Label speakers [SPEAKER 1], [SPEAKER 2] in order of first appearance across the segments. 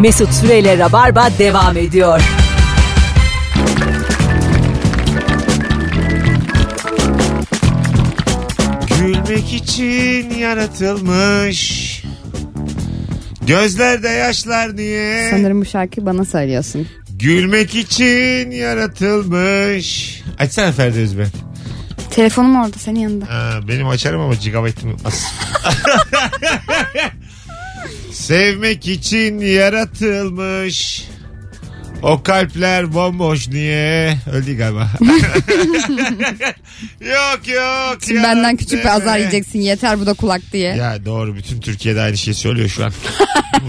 [SPEAKER 1] Mesut Süreyle Rabarba devam ediyor.
[SPEAKER 2] Gülmek için yaratılmış. Gözlerde yaşlar niye?
[SPEAKER 3] Sanırım bu şarkıyı bana söylüyorsun.
[SPEAKER 2] Gülmek için yaratılmış. Açsana Ferdi Özbe.
[SPEAKER 3] Telefonum orada senin yanında.
[SPEAKER 2] Ha, Ee, benim açarım ama gigabaytım az. Sevmek için yaratılmış. O kalpler bomboş niye? Öldü galiba. yok yok.
[SPEAKER 3] Şimdi
[SPEAKER 2] ya
[SPEAKER 3] benden küçük bir azar
[SPEAKER 2] deme.
[SPEAKER 3] yiyeceksin yeter bu da kulak diye.
[SPEAKER 2] Ya doğru bütün Türkiye'de aynı şeyi söylüyor şu an.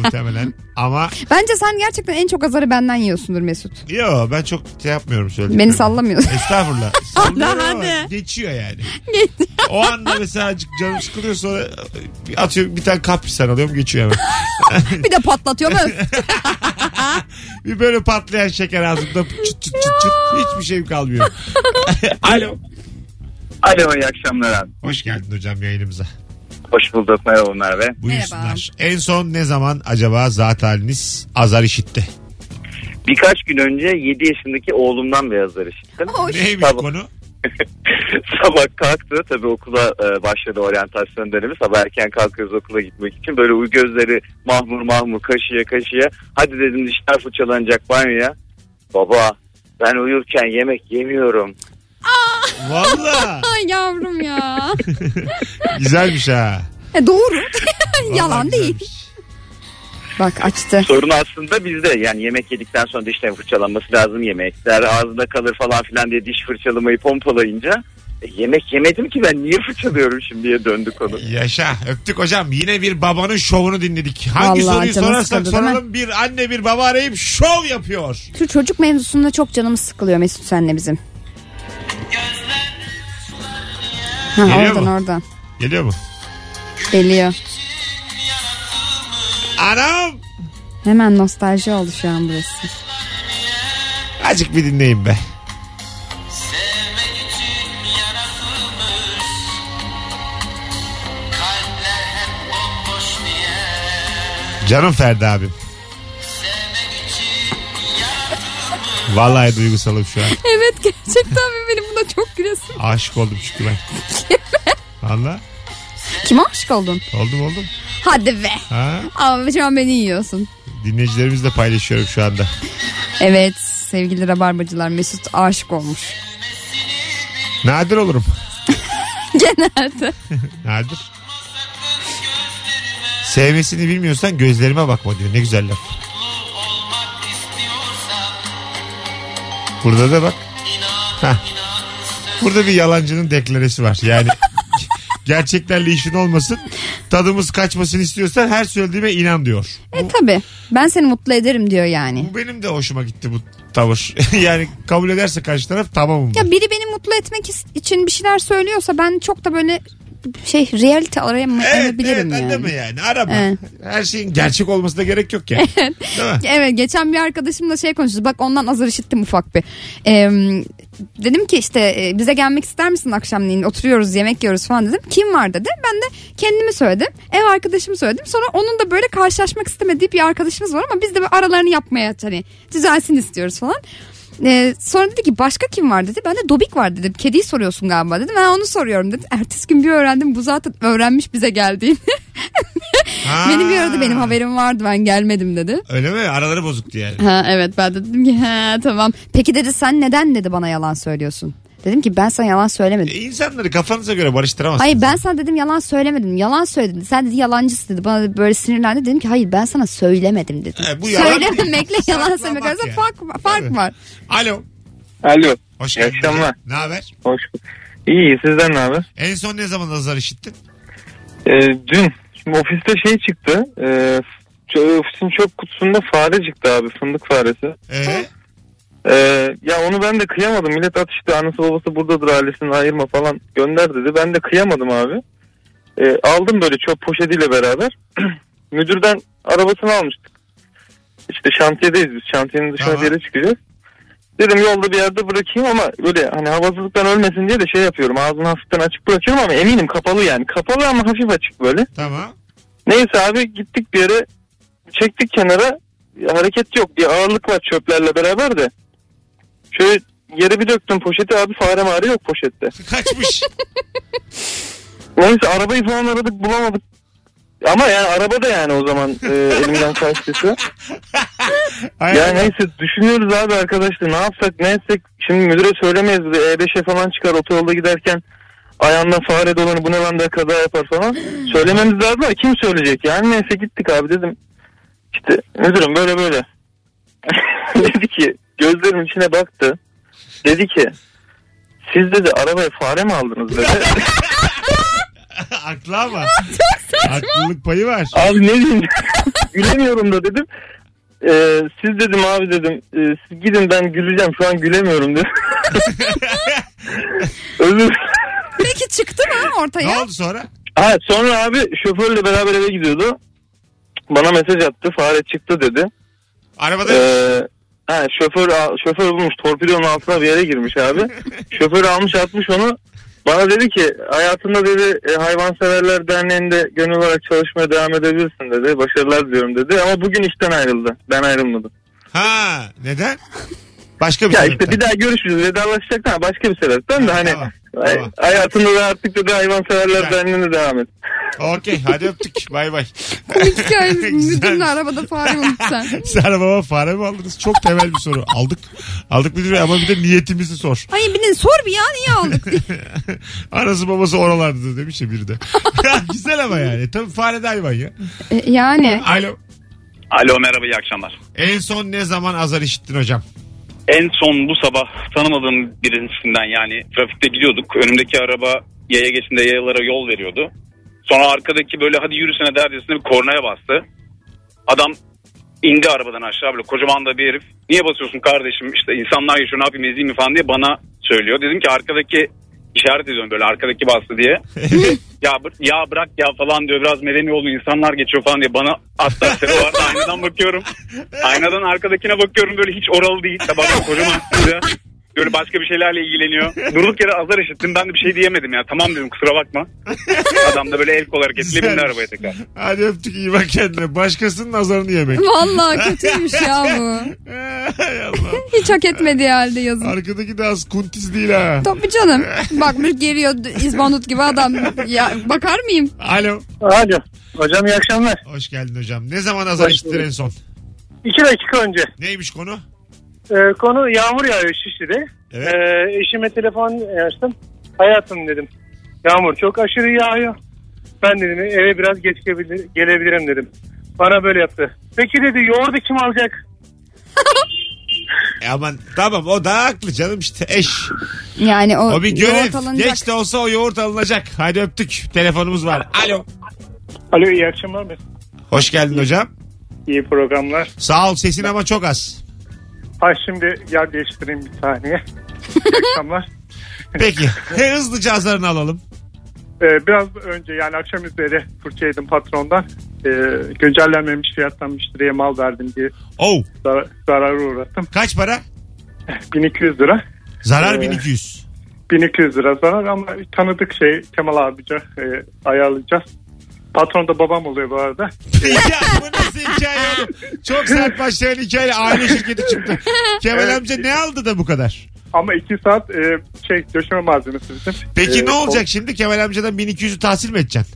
[SPEAKER 2] Muhtemelen. Ama
[SPEAKER 3] Bence sen gerçekten en çok azarı benden yiyorsundur Mesut.
[SPEAKER 2] yo ben çok şey yapmıyorum söyledim.
[SPEAKER 3] Beni sallamıyorsun.
[SPEAKER 2] Estağfurullah. Sallıyorum ama
[SPEAKER 3] hadi.
[SPEAKER 2] geçiyor yani. o anda mesela azıcık canım sıkılıyor sonra bir atıyorum bir tane kaprisen alıyorum geçiyor hemen.
[SPEAKER 3] bir de patlatıyor mu?
[SPEAKER 2] Bir böyle patlayan şeker ağzımda çıt çıt çıt çıt hiçbir şeyim kalmıyor. Alo.
[SPEAKER 4] Alo iyi akşamlar abi.
[SPEAKER 2] Hoş geldin hocam yayınımıza.
[SPEAKER 4] Hoş bulduk merhaba Ömer Bey.
[SPEAKER 2] Buyursunlar. En son ne zaman acaba zat haliniz azar işitti?
[SPEAKER 4] Birkaç gün önce 7 yaşındaki oğlumdan bir azar işittim.
[SPEAKER 3] Hoş.
[SPEAKER 2] Neymiş
[SPEAKER 4] Tamam.
[SPEAKER 2] konu?
[SPEAKER 4] Sabah kalktı tabii okula e, başladı oryantasyon dönemi. Sabah erken kalkıyoruz okula gitmek için. Böyle uy gözleri mahmur mahmur kaşıya kaşıya. Hadi dedim dişler fırçalanacak banyoya. Baba ben uyurken yemek yemiyorum.
[SPEAKER 2] Valla
[SPEAKER 3] Ay yavrum ya.
[SPEAKER 2] güzelmiş ha.
[SPEAKER 3] E, doğru.
[SPEAKER 2] Vallahi
[SPEAKER 3] Yalan değil.
[SPEAKER 2] güzelmiş.
[SPEAKER 3] Bak açtı.
[SPEAKER 4] Sorun aslında bizde. Yani yemek yedikten sonra dişlerin fırçalanması lazım yemekler. Ağzında kalır falan filan diye diş fırçalamayı pompalayınca "E, yemek yemedim ki ben niye fırçalıyorum şimdiye döndü konu.
[SPEAKER 2] Yaşa öptük hocam yine bir babanın şovunu dinledik. Hangi
[SPEAKER 3] Vallahi
[SPEAKER 2] soruyu
[SPEAKER 3] canım
[SPEAKER 2] sorarsak
[SPEAKER 3] sıkıldı, değil mi?
[SPEAKER 2] soralım bir anne bir baba arayıp şov yapıyor.
[SPEAKER 3] Şu çocuk mevzusunda çok canımız sıkılıyor Mesut senle bizim. Ha,
[SPEAKER 2] Geliyor
[SPEAKER 3] oradan
[SPEAKER 2] mu?
[SPEAKER 3] oradan.
[SPEAKER 2] Geliyor mu?
[SPEAKER 3] Geliyor.
[SPEAKER 2] Anam!
[SPEAKER 3] Hemen nostalji oldu şu an burası.
[SPEAKER 2] Azıcık bir dinleyin be. Canım Ferdi abim. Vallahi duygusalım şu an.
[SPEAKER 3] Evet gerçekten benim buna çok gülesim.
[SPEAKER 2] Aşık oldum çünkü ben. Valla
[SPEAKER 3] Kime aşık oldun?
[SPEAKER 2] oldum oldum.
[SPEAKER 3] Hadi be.
[SPEAKER 2] Ha?
[SPEAKER 3] Ama şu an beni yiyorsun.
[SPEAKER 2] Dinleyicilerimizle paylaşıyorum şu anda.
[SPEAKER 3] Evet sevgili rabarbacılar Mesut aşık olmuş.
[SPEAKER 2] Nadir olurum.
[SPEAKER 3] Genelde.
[SPEAKER 2] Nadir. Sevmesini bilmiyorsan gözlerime bakma diyor. Ne güzel laf. Burada da bak. Hah. Burada bir yalancının deklaresi var. Yani gerçeklerle işin olmasın. Tadımız kaçmasını istiyorsan her söylediğime inan diyor.
[SPEAKER 3] E tabi ben seni mutlu ederim diyor yani.
[SPEAKER 2] Bu benim de hoşuma gitti bu tavır. yani kabul ederse karşı taraf tamamım.
[SPEAKER 3] Ya biri beni mutlu etmek is- için bir şeyler söylüyorsa ben çok da böyle şey reality arayamayabilirim
[SPEAKER 2] evet,
[SPEAKER 3] yani.
[SPEAKER 2] anladın mı yani? Arama.
[SPEAKER 3] Evet.
[SPEAKER 2] Her şeyin gerçek olmasına gerek yok yani. Değil mi?
[SPEAKER 3] Evet geçen bir arkadaşımla şey konuştuk. Bak ondan azar işittim ufak bir. Ee, dedim ki işte e, bize gelmek ister misin akşamleyin oturuyoruz yemek yiyoruz falan dedim. Kim var dedi. Ben de kendimi söyledim. Ev arkadaşımı söyledim. Sonra onun da böyle karşılaşmak istemediği bir arkadaşımız var ama biz de böyle aralarını yapmaya hani düzelsin istiyoruz falan. Ee, sonra dedi ki başka kim var dedi. Ben de Dobik var dedim. Kediyi soruyorsun galiba dedim. Ben onu soruyorum dedim. Ertesi gün bir öğrendim. Bu zaten öğrenmiş bize geldiğini.
[SPEAKER 2] Ha.
[SPEAKER 3] Beni bir aradı benim haberim vardı ben gelmedim dedi.
[SPEAKER 2] Öyle mi? Araları bozuktu yani.
[SPEAKER 3] Ha evet ben de dedim ki ha tamam. Peki dedi sen neden dedi bana yalan söylüyorsun? Dedim ki ben sana yalan söylemedim.
[SPEAKER 2] E, İnsanları kafanıza göre barıştıramazsınız.
[SPEAKER 3] Hayır ben sana dedim yalan söylemedim. Yalan söyledin. Sen dedi yalancısı dedi. Bana dedi, böyle sinirlendi. Dedim ki hayır ben sana söylemedim dedim.
[SPEAKER 2] E, bu yalan değil.
[SPEAKER 3] Söylememekle yalan
[SPEAKER 2] Saklamak
[SPEAKER 3] söylemek arasında
[SPEAKER 2] yani.
[SPEAKER 3] fark, fark
[SPEAKER 2] Tabii.
[SPEAKER 3] var.
[SPEAKER 2] Alo.
[SPEAKER 5] Alo.
[SPEAKER 2] Hoş
[SPEAKER 5] İyi
[SPEAKER 2] geldin.
[SPEAKER 5] akşamlar.
[SPEAKER 2] Ne haber?
[SPEAKER 5] Hoş bulduk. İyi sizden ne haber?
[SPEAKER 2] En son ne zaman azar işittin?
[SPEAKER 5] Ee, dün şimdi ofiste şey çıktı. Ee, ç- ofisin çöp kutusunda fare çıktı abi fındık faresi.
[SPEAKER 2] Ee,
[SPEAKER 5] Ee, ya onu ben de kıyamadım. Millet atıştı anası babası buradadır ailesini ayırma falan gönder dedi. Ben de kıyamadım abi. Ee, aldım böyle çöp poşetiyle beraber. Müdürden arabasını almıştık. İşte şantiyedeyiz biz. Şantiyenin dışına
[SPEAKER 2] Tamam.
[SPEAKER 5] bir yere çıkacağız. Dedim yolda bir yerde bırakayım ama böyle hani havasızlıktan ölmesin diye de şey yapıyorum. Ağzını hafiften açık bırakıyorum ama eminim kapalı yani. Kapalı ama hafif açık böyle.
[SPEAKER 2] tamam.
[SPEAKER 5] Neyse abi gittik bir yere çektik kenara hareket yok bir ağırlık var çöplerle beraber de. Şöyle yere bir döktüm poşeti abi fare mare yok poşette.
[SPEAKER 2] Kaçmış.
[SPEAKER 5] Neyse arabayı falan aradık bulamadık. Ama yani araba da yani o zaman e, elimden kaçtıysa.
[SPEAKER 2] Ay,
[SPEAKER 5] Ya neyse düşünüyoruz abi arkadaşlar ne yapsak ne etsek. Şimdi müdüre söylemeyiz de E5'e falan çıkar otoyolda giderken ayağından fare dolanır bu ne lan der kaza yapar falan.
[SPEAKER 2] Hmm.
[SPEAKER 5] Söylememiz lazım ama kim söyleyecek yani neyse gittik abi dedim. İşte müdürüm böyle böyle. dedi ki gözlerim içine baktı. Dedi ki siz dedi arabaya fare mi aldınız dedi.
[SPEAKER 2] Aklı ama. Aklılık payı var.
[SPEAKER 5] Abi ne diyeyim? Gülemiyorum da dedim. Ee, siz dedim abi dedim e, siz gidin ben güleceğim şu an gülemiyorum dedim. Özür.
[SPEAKER 3] Peki çıktı mı
[SPEAKER 2] Ne
[SPEAKER 3] ortaya?
[SPEAKER 2] oldu sonra?
[SPEAKER 5] Ha, sonra abi şoförle beraber eve gidiyordu. Bana mesaj attı fare çıktı dedi.
[SPEAKER 2] Arabada
[SPEAKER 5] Ee, ha, şoför al- şoför bulmuş torpidonun altına bir yere girmiş abi. şoför almış atmış onu. Bana dedi ki hayatında dedi e, hayvanseverler derneğinde gönül olarak çalışmaya devam edebilirsin dedi. Başarılar diliyorum dedi ama bugün işten ayrıldı. Ben ayrılmadım.
[SPEAKER 2] Ha neden? Başka bir
[SPEAKER 5] Ya
[SPEAKER 2] sebepten.
[SPEAKER 5] işte bir daha görüşürüz vedalaşacaklar ama başka bir sebepten de hani
[SPEAKER 2] Tamam,
[SPEAKER 5] hay-
[SPEAKER 2] tamam.
[SPEAKER 5] hayatında da artık dedi hayvanseverler
[SPEAKER 2] Ya.
[SPEAKER 5] derneğinde devam et.
[SPEAKER 2] Okey hadi öptük. Bay bay.
[SPEAKER 3] Komik hikaye. Müdürün
[SPEAKER 2] Güzel.
[SPEAKER 3] arabada fare unutsan.
[SPEAKER 2] Sarı baba fare mi aldınız? Çok temel bir soru. Aldık. Aldık müdür bey ama bir de niyetimizi sor.
[SPEAKER 3] Ay bir de sor bir ya niye aldık?
[SPEAKER 2] Anası babası oralardadır demiş ya biri de. Güzel ama yani. Tabii fare de hayvan ya.
[SPEAKER 3] E, yani.
[SPEAKER 2] Alo.
[SPEAKER 6] Alo merhaba iyi akşamlar.
[SPEAKER 2] En son ne zaman azar işittin hocam?
[SPEAKER 6] En son bu sabah tanımadığım birisinden yani trafikte gidiyorduk. Önümdeki araba yaya geçinde yayalara yol veriyordu. Sonra arkadaki böyle hadi yürüsene derdesine bir kornaya bastı. Adam indi arabadan aşağı böyle kocaman da bir herif. Niye basıyorsun kardeşim işte insanlar yaşıyor ne yapayım ezeyim mi falan diye bana söylüyor. Dedim ki arkadaki işaret ediyorum böyle arkadaki bastı diye. ya, bı- ya bırak ya falan diyor biraz medeni olun insanlar geçiyor falan diye bana hatta o arada aynadan bakıyorum. Aynadan arkadakine bakıyorum böyle hiç oralı değil. Tabakta kocaman kızı. Böyle başka bir şeylerle ilgileniyor. Durduk yere azar işittim. Ben de bir şey diyemedim ya. Tamam dedim kusura bakma. Adam da böyle el kol hareketiyle bindi
[SPEAKER 2] Güzelmiş.
[SPEAKER 6] arabaya tekrar.
[SPEAKER 2] Hadi öptük iyi bak kendine. Başkasının nazarını yemek.
[SPEAKER 3] Vallahi kötüymüş ya bu.
[SPEAKER 2] Hay Allah.
[SPEAKER 3] Hiç hak etmediği halde yazın.
[SPEAKER 2] Arkadaki de az kuntiz değil ha.
[SPEAKER 3] Tabii canım. Bakmış geliyor d- izbanut gibi adam. Ya bakar mıyım?
[SPEAKER 2] Alo.
[SPEAKER 5] Alo hocam iyi akşamlar.
[SPEAKER 2] Hoş geldin hocam. Ne zaman azar
[SPEAKER 5] Hoş
[SPEAKER 2] işittin
[SPEAKER 5] bulduk.
[SPEAKER 2] en son?
[SPEAKER 5] İki dakika önce
[SPEAKER 2] Neymiş konu?
[SPEAKER 5] Ee, konu yağmur yağıyor Şişli'de.
[SPEAKER 2] Evet.
[SPEAKER 5] Ee, eşime telefon açtım. Hayatım dedim. Yağmur çok aşırı yağıyor. Ben dedim eve biraz geç gelebilir- gelebilirim dedim. Bana böyle yaptı. Peki dedi yoğurdu kim alacak?
[SPEAKER 2] E aman tamam o da haklı canım işte eş.
[SPEAKER 3] Yani E, o,
[SPEAKER 2] O bir görev.
[SPEAKER 3] yoğurt alınacak.
[SPEAKER 2] Geç de olsa o yoğurt alınacak. Hadi öptük. Telefonumuz var. Alo.
[SPEAKER 5] Alo iyi akşamlar.
[SPEAKER 2] Hoş geldin hocam.
[SPEAKER 5] İyi programlar.
[SPEAKER 2] Sağ ol sesin ama çok az.
[SPEAKER 5] Ha şimdi yer değiştireyim bir saniye. İyi akşamlar.
[SPEAKER 2] Peki hızlıca azarını alalım.
[SPEAKER 5] Ee, biraz önce yani akşam üzeri Türkiye'den patrondan e, güncellenmemiş fiyattan müşteriye mal verdim diye
[SPEAKER 2] Oh
[SPEAKER 5] zar- zarara uğrattım.
[SPEAKER 2] kaç para?
[SPEAKER 5] 1200 lira.
[SPEAKER 2] Zarar
[SPEAKER 5] Ee,
[SPEAKER 2] 1200.
[SPEAKER 5] 1200 lira zarar ama tanıdık şey Kemal abice e, ayarlayacağız. Patron da babam oluyor bu arada.
[SPEAKER 2] ya bu nasıl hikaye oğlum? Çok sert başlayan hikaye aile şirketi çıktı. Kemal
[SPEAKER 5] Evet.
[SPEAKER 2] amca ne aldı da bu kadar?
[SPEAKER 5] Ama 2 saat e, şey döşeme malzemesi bizim.
[SPEAKER 2] Peki
[SPEAKER 5] E,
[SPEAKER 2] ne olacak
[SPEAKER 5] o-
[SPEAKER 2] şimdi? Kemal amcadan 1200'ü tahsil mi edeceksin?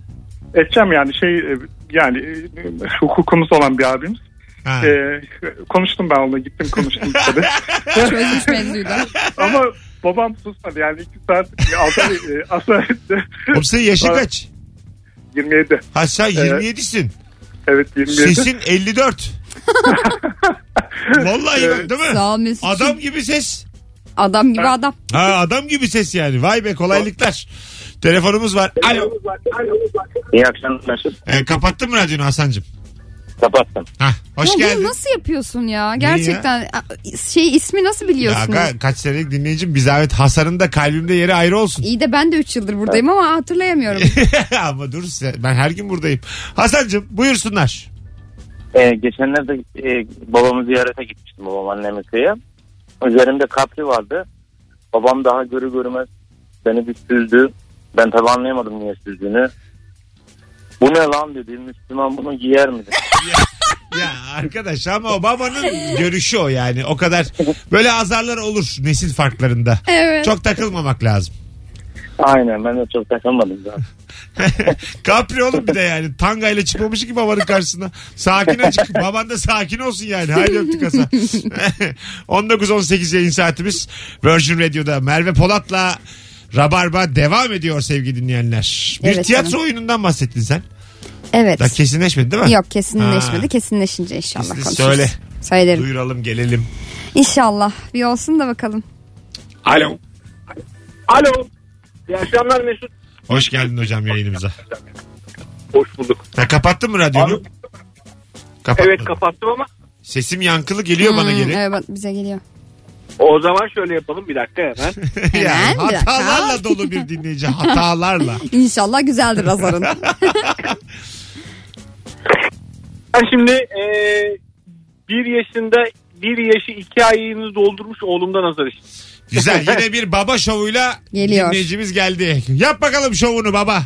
[SPEAKER 5] Edeceğim yani şey e, yani e, hukukumuz olan bir abimiz.
[SPEAKER 2] Ha.
[SPEAKER 5] E, konuştum ben onunla gittim konuştum tabii.
[SPEAKER 3] Çözmüş mevzuyu da.
[SPEAKER 5] ama babam susmadı yani 2 saat e, altı, e, aslında
[SPEAKER 2] Oğlum senin yaşın
[SPEAKER 5] Aa.
[SPEAKER 2] kaç?
[SPEAKER 5] 27.
[SPEAKER 2] Ha sen
[SPEAKER 5] Evet.
[SPEAKER 2] 27'sin.
[SPEAKER 5] e, Evet 27.
[SPEAKER 2] Sesin 54. Vallahi
[SPEAKER 5] Evet.
[SPEAKER 2] değil mi?
[SPEAKER 3] Sağ ol Mesut'cum.
[SPEAKER 2] Adam gibi ses.
[SPEAKER 3] Adam gibi adam.
[SPEAKER 2] Ha adam gibi ses yani. Vay be kolaylıklar. Telefonumuz var. Alo.
[SPEAKER 4] İyi akşamlar Mesut.
[SPEAKER 2] Ee, kapattın mı radyonu Hasan'cığım?
[SPEAKER 4] Kapattım.
[SPEAKER 2] Hah, hoş
[SPEAKER 3] Ya bunu
[SPEAKER 2] geldin.
[SPEAKER 3] nasıl yapıyorsun ya? Gerçekten a- şey ismi nasıl
[SPEAKER 2] Ya
[SPEAKER 3] biliyorsun?
[SPEAKER 2] ka- kaç senelik dinleyicim bir zahmet Hasan'ın da kalbimde yeri ayrı olsun.
[SPEAKER 3] İyi de ben de 3 yıldır buradayım ama hatırlayamıyorum.
[SPEAKER 2] Ama dur sen- ben her gün buradayım. Hasan'cığım buyursunlar.
[SPEAKER 4] Ee, geçenlerde e, babamı ziyarete gitmiştim babam annemin köyü. Üzerimde kapri vardı. Babam daha görü görmez beni bir süzdü. Ben tabi anlayamadım niye süzdüğünü. Bu ne lan dedi Müslüman bunu giyer mi? dedi.
[SPEAKER 2] Ya arkadaş ama Obama'nın görüşü o yani. O kadar böyle azarlar olur nesil farklarında.
[SPEAKER 3] Evet.
[SPEAKER 2] Çok takılmamak lazım.
[SPEAKER 5] Aynen ben de çok takılmadım zaten.
[SPEAKER 2] Kapri oğlum bir de yani. Tanga ile çıkmamış ki babanın karşısına. Sakin açık. Baban da sakin olsun yani. Haydi öptük asa. 19-18 yayın saatimiz. Virgin Radio'da Merve Polat'la Rabarba devam ediyor sevgili dinleyenler. Bir
[SPEAKER 3] Evet
[SPEAKER 2] tiyatro
[SPEAKER 3] canım.
[SPEAKER 2] oyunundan bahsettin sen.
[SPEAKER 3] Evet.
[SPEAKER 2] Daha kesinleşmedi değil mi?
[SPEAKER 3] Yok kesinleşmedi.
[SPEAKER 2] Ha.
[SPEAKER 3] Kesinleşince inşallah
[SPEAKER 2] Kesin-
[SPEAKER 3] konuşuruz.
[SPEAKER 2] söyle.
[SPEAKER 3] Söylerim.
[SPEAKER 2] Duyuralım gelelim.
[SPEAKER 3] İnşallah. Bir olsun da bakalım.
[SPEAKER 2] Alo.
[SPEAKER 7] Alo. İyi akşamlar Mesut.
[SPEAKER 2] Hoş geldin hocam yayınımıza.
[SPEAKER 7] Hoş bulduk.
[SPEAKER 2] Ha, kapattın mı radyonu?
[SPEAKER 7] Abi-
[SPEAKER 2] Kapattın.
[SPEAKER 7] Evet kapattım ama
[SPEAKER 2] Sesim yankılı geliyor bana
[SPEAKER 3] Hmm,
[SPEAKER 2] geri.
[SPEAKER 3] Evet bak- bize geliyor.
[SPEAKER 7] o zaman şöyle yapalım bir dakika hemen.
[SPEAKER 2] yani
[SPEAKER 3] Hemen bir dakika.
[SPEAKER 2] hatalarla dolu bir dinleyici. Hatalarla.
[SPEAKER 3] İnşallah güzeldir azarın.
[SPEAKER 7] Ben şimdi eee bir yaşında bir yaşı iki ayını doldurmuş oğlumdan hazır işte.
[SPEAKER 2] Güzel. Yine bir baba şovuyla
[SPEAKER 3] Geliyor.
[SPEAKER 2] dinleyicimiz geldi. Yap bakalım şovunu baba.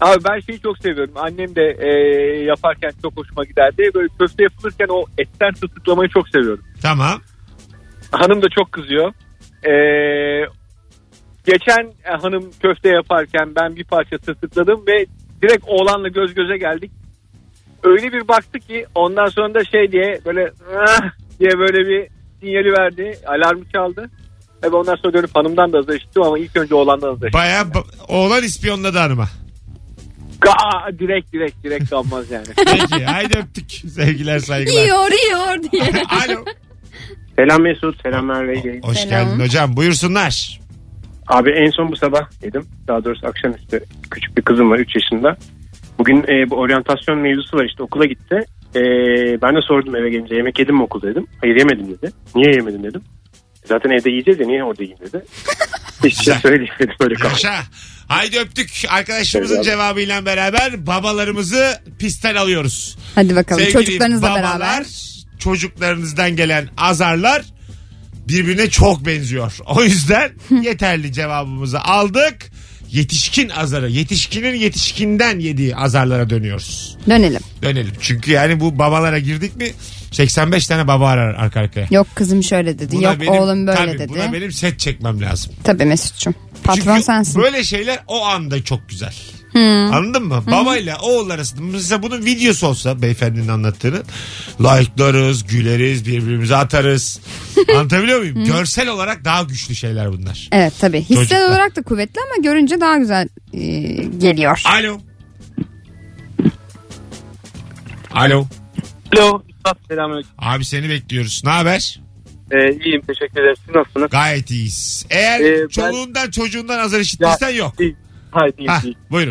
[SPEAKER 7] Abi ben şeyi çok seviyorum. Annem de eee, yaparken çok hoşuma giderdi. Böyle köfte yapılırken o etten tutuklamayı çok seviyorum.
[SPEAKER 2] Tamam.
[SPEAKER 7] Hanım da çok kızıyor. Ee, geçen e, hanım köfte yaparken ben bir parça tırtıkladım ve direkt oğlanla göz göze geldik. Öyle bir baktı ki ondan sonra da şey diye böyle "Ah!" diye böyle bir sinyali verdi. Alarmı çaldı. Tabii ondan sonra dönüp hanımdan da azlaştım ama ilk önce oğlandan azlaştım.
[SPEAKER 2] Baya ba- oğlan ispiyonladı hanıma.
[SPEAKER 7] Ga- direkt direkt direkt kalmaz yani.
[SPEAKER 2] Peki. Haydi öptük. Sevgiler saygılar.
[SPEAKER 3] yiyor yiyor diye.
[SPEAKER 2] Alo.
[SPEAKER 8] Selam Mesut, selam Merve.
[SPEAKER 2] Hoş
[SPEAKER 3] Selam.
[SPEAKER 2] geldin hocam. Buyursunlar.
[SPEAKER 8] Abi en son bu sabah yedim. Daha doğrusu akşamüstü küçük bir kızım var 3 yaşında. Bugün e, bu oryantasyon mevzusu var işte okula gitti. E, ben de sordum eve gelince yemek yedin mi okulda dedim. Hayır yemedim dedi. Niye yemedim dedim. Zaten evde yiyeceğiz ya niye orada yiyeyim dedi. Hiç şey
[SPEAKER 2] Güzel.
[SPEAKER 8] söyleyemedim böyle kaldı.
[SPEAKER 2] Yaşa. Haydi öptük. Arkadaşımızın
[SPEAKER 8] Eyvallah.
[SPEAKER 2] cevabıyla beraber babalarımızı pistten alıyoruz.
[SPEAKER 3] Hadi bakalım
[SPEAKER 2] Sevgili
[SPEAKER 3] çocuklarınızla
[SPEAKER 2] babalar,
[SPEAKER 3] beraber.
[SPEAKER 2] çocuklarınızdan gelen azarlar birbirine çok benziyor. O yüzden yeterli cevabımızı aldık. Yetişkin azarı, yetişkinin yetişkinden yediği azarlara dönüyoruz.
[SPEAKER 3] Dönelim.
[SPEAKER 2] Dönelim. Çünkü yani bu babalara girdik mi 85 tane baba arar arka arkaya.
[SPEAKER 3] Yok kızım şöyle dedi.
[SPEAKER 2] Buna
[SPEAKER 3] Yok
[SPEAKER 2] benim-
[SPEAKER 3] oğlum böyle
[SPEAKER 2] tabii,
[SPEAKER 3] dedi.
[SPEAKER 2] Buna benim set çekmem lazım.
[SPEAKER 3] Tabii Mesut'cum. Patron
[SPEAKER 2] Çünkü
[SPEAKER 3] sensin.
[SPEAKER 2] böyle şeyler o anda çok güzel. Anladın mı? Babayla oğul arasında mesela bunun videosu olsa beyefendinin anlattığını like'larız, güleriz, birbirimize atarız. Anlatabiliyor muyum? Görsel olarak daha güçlü şeyler bunlar.
[SPEAKER 3] Evet tabii. Hissel
[SPEAKER 2] Çocuklar.
[SPEAKER 3] olarak da kuvvetli ama görünce daha güzel e, geliyor.
[SPEAKER 2] Alo. Alo.
[SPEAKER 7] Alo Üstad selamünaleyküm. Ee,
[SPEAKER 2] Abi seni bekliyoruz. Ne haber?
[SPEAKER 7] iyiyim teşekkür ederim. Siz nasılsınız?
[SPEAKER 2] Gayet iyiyiz. Eğer
[SPEAKER 7] Ee, ben-
[SPEAKER 2] çoluğundan çocuğundan azar işittiysen yok.
[SPEAKER 7] Hayır Ee,
[SPEAKER 2] Ha, buyurun.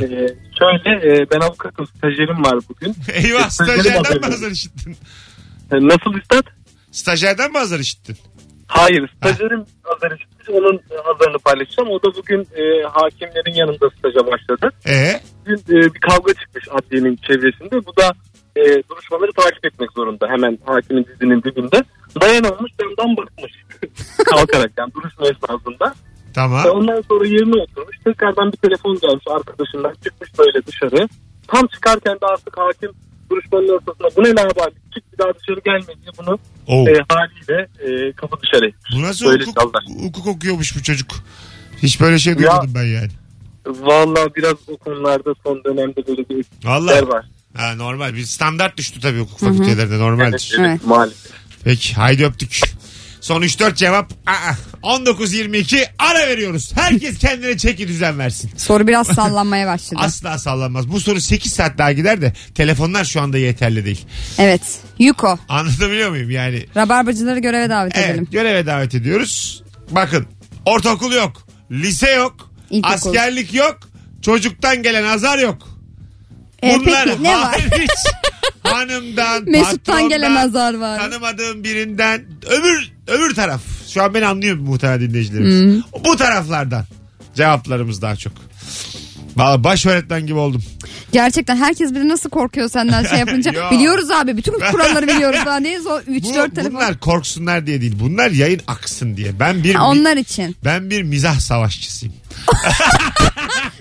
[SPEAKER 7] şöyle e, ben avukatım stajyerim var bugün.
[SPEAKER 2] Eyvah
[SPEAKER 7] stajyerim
[SPEAKER 2] stajyerden mi
[SPEAKER 7] haberi.
[SPEAKER 2] azar işittin?
[SPEAKER 7] Nasıl Üstad?
[SPEAKER 2] Stajyerden mi azar işittin?
[SPEAKER 7] Hayır stajyerim azarı çıktı. Onun azarını paylaşacağım. O da bugün e, hakimlerin yanında staja başladı.
[SPEAKER 2] Ee?
[SPEAKER 7] Bugün e, bir kavga çıkmış adliyenin çevresinde. Bu da e, duruşmaları takip etmek zorunda. Hemen hakimin dizinin dibinde. Dayanamamış camdan bakmış. Kalkarak yani duruşma esnasında.
[SPEAKER 2] Tamam.
[SPEAKER 7] E, Ondan sonra yerine oturmuş. Tekrardan bir telefon gelmiş arkadaşından. Çıkmış böyle dışarı. Tam çıkarken de artık hakim duruşmanın ortasında bu ne lanet çık bir daha dışarı gelme diye bunu
[SPEAKER 2] Oo.
[SPEAKER 7] e, haliyle e, kapı dışarı
[SPEAKER 2] Oh. Bu nasıl
[SPEAKER 7] Böyle
[SPEAKER 2] hukuk,
[SPEAKER 7] çaldılar.
[SPEAKER 2] hukuk okuyormuş bu çocuk? Hiç böyle şey duymadım ben yani.
[SPEAKER 7] Valla biraz o konularda son dönemde böyle bir
[SPEAKER 2] Valla.
[SPEAKER 7] işler var.
[SPEAKER 2] Ha, normal. Bir standart düştü tabii hukuk fakültelerinde. Normaldir.
[SPEAKER 3] Evet.
[SPEAKER 7] Maalesef.
[SPEAKER 2] Peki haydi öptük. Son 3-4 cevap. Aa, 19-22 ara veriyoruz. Herkes kendine çeki düzen versin.
[SPEAKER 3] Soru biraz sallanmaya başladı.
[SPEAKER 2] Asla sallanmaz. Bu soru 8 saat daha gider de telefonlar şu anda yeterli değil.
[SPEAKER 3] evet. Yuko.
[SPEAKER 2] Anlatabiliyor muyum yani?
[SPEAKER 3] Rabarbacıları göreve davet edelim.
[SPEAKER 2] Evet, göreve davet ediyoruz. Bakın ortaokul yok, lise yok,
[SPEAKER 3] İlkokul.
[SPEAKER 2] askerlik yok, çocuktan gelen azar yok.
[SPEAKER 3] E,
[SPEAKER 2] Bunlar
[SPEAKER 3] peki ne var?
[SPEAKER 2] hariç hanımdan,
[SPEAKER 3] Mesut'tan
[SPEAKER 2] patrondan,
[SPEAKER 3] gelen azar var.
[SPEAKER 2] tanımadığım birinden, öbür öbür taraf. Şu an beni anlıyor muhtemelen dinleyicilerimiz.
[SPEAKER 3] Hmm.
[SPEAKER 2] Bu taraflardan cevaplarımız daha çok. Valla baş öğretmen gibi oldum.
[SPEAKER 3] Gerçekten herkes bile nasıl korkuyor senden şey yapınca.
[SPEAKER 2] Yo. biliyoruz
[SPEAKER 3] biliyoruz abi. Bütün kuralları biliyoruz. Daha neyiz o
[SPEAKER 2] Bu,
[SPEAKER 3] 3-4 telefon.
[SPEAKER 2] bunlar korksunlar diye değil. Bunlar yayın aksın diye. Ben bir
[SPEAKER 3] onlar için.
[SPEAKER 2] ben bir mizah savaşçısıyım.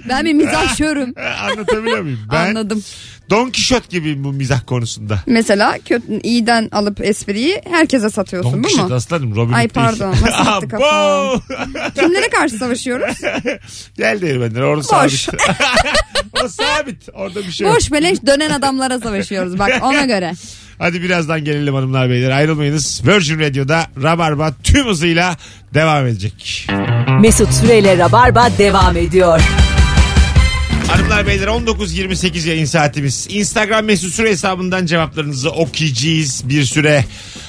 [SPEAKER 3] Ben bir mizahşörüm.
[SPEAKER 2] E, Anlatabiliyor muyum? Ben
[SPEAKER 3] Anladım.
[SPEAKER 2] Don Kişot gibiyim bu mizah konusunda.
[SPEAKER 3] Mesela kötü, iyiden alıp espriyi herkese satıyorsun
[SPEAKER 2] Don
[SPEAKER 3] bu mu?
[SPEAKER 2] Kişot aslanım Robin
[SPEAKER 3] Ay
[SPEAKER 2] Hood değil.
[SPEAKER 3] pardon, nasıl gitti
[SPEAKER 2] Abo!
[SPEAKER 3] kafam? Kimlere karşı savaşıyoruz?
[SPEAKER 2] Gel değil benden orada
[SPEAKER 3] Boş.
[SPEAKER 2] sabit. o sabit. Orada bir şey yok.
[SPEAKER 3] Boş beleş dönen adamlara savaşıyoruz bak ona göre.
[SPEAKER 2] Hadi birazdan gelelim hanımlar beyler ayrılmayınız. Virgin Radio'da Rabarba tüm hızıyla devam edecek.
[SPEAKER 1] Mesut Süreyle Rabarba devam ediyor.
[SPEAKER 2] Hanımlar beyler 19.28 yayın saatimiz. Instagram mesut süre hesabından cevaplarınızı okuyacağız bir süre.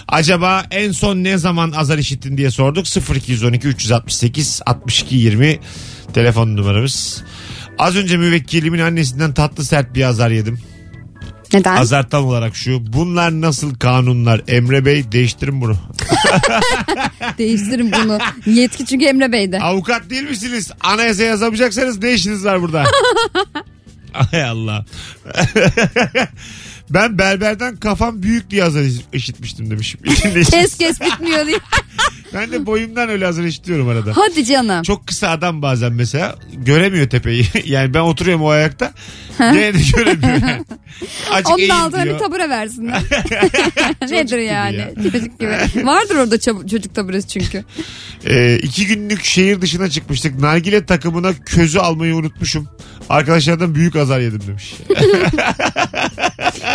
[SPEAKER 2] Acaba en son ne zaman azar işittin diye sorduk. 0212 368 62 20 telefon numaramız. Az önce müvekkilimin annesinden tatlı sert bir azar yedim.
[SPEAKER 3] Neden?
[SPEAKER 2] Azar tam olarak şu. Bunlar nasıl kanunlar? Emre Bey değiştirin bunu.
[SPEAKER 3] Değiştirin bunu. Yetki çünkü Emre Bey'de.
[SPEAKER 2] Avukat değil misiniz? Anayasa yazamayacaksanız ne işiniz var burada? Ay Allah. ben berberden kafam büyük diye azar iş- işitmiştim demişim.
[SPEAKER 3] Kes kes bitmiyor diye.
[SPEAKER 2] ben de boyumdan öyle azar işitiyorum arada.
[SPEAKER 3] Hadi canım.
[SPEAKER 2] Çok kısa adam bazen mesela göremiyor tepeyi. Yani ben oturuyorum o ayakta. Gene de göremiyor. Yani. Azıcık
[SPEAKER 3] Onun da
[SPEAKER 2] eğil
[SPEAKER 3] altına
[SPEAKER 2] diyor.
[SPEAKER 3] bir tabure versinler. Nedir yani?
[SPEAKER 2] ya.
[SPEAKER 3] Çocuk gibi. Vardır orada çab- çocuk taburesi çünkü.
[SPEAKER 2] Ee, iki günlük şehir dışına çıkmıştık. Nargile takımına közü almayı unutmuşum. Arkadaşlardan büyük azar yedim demiş.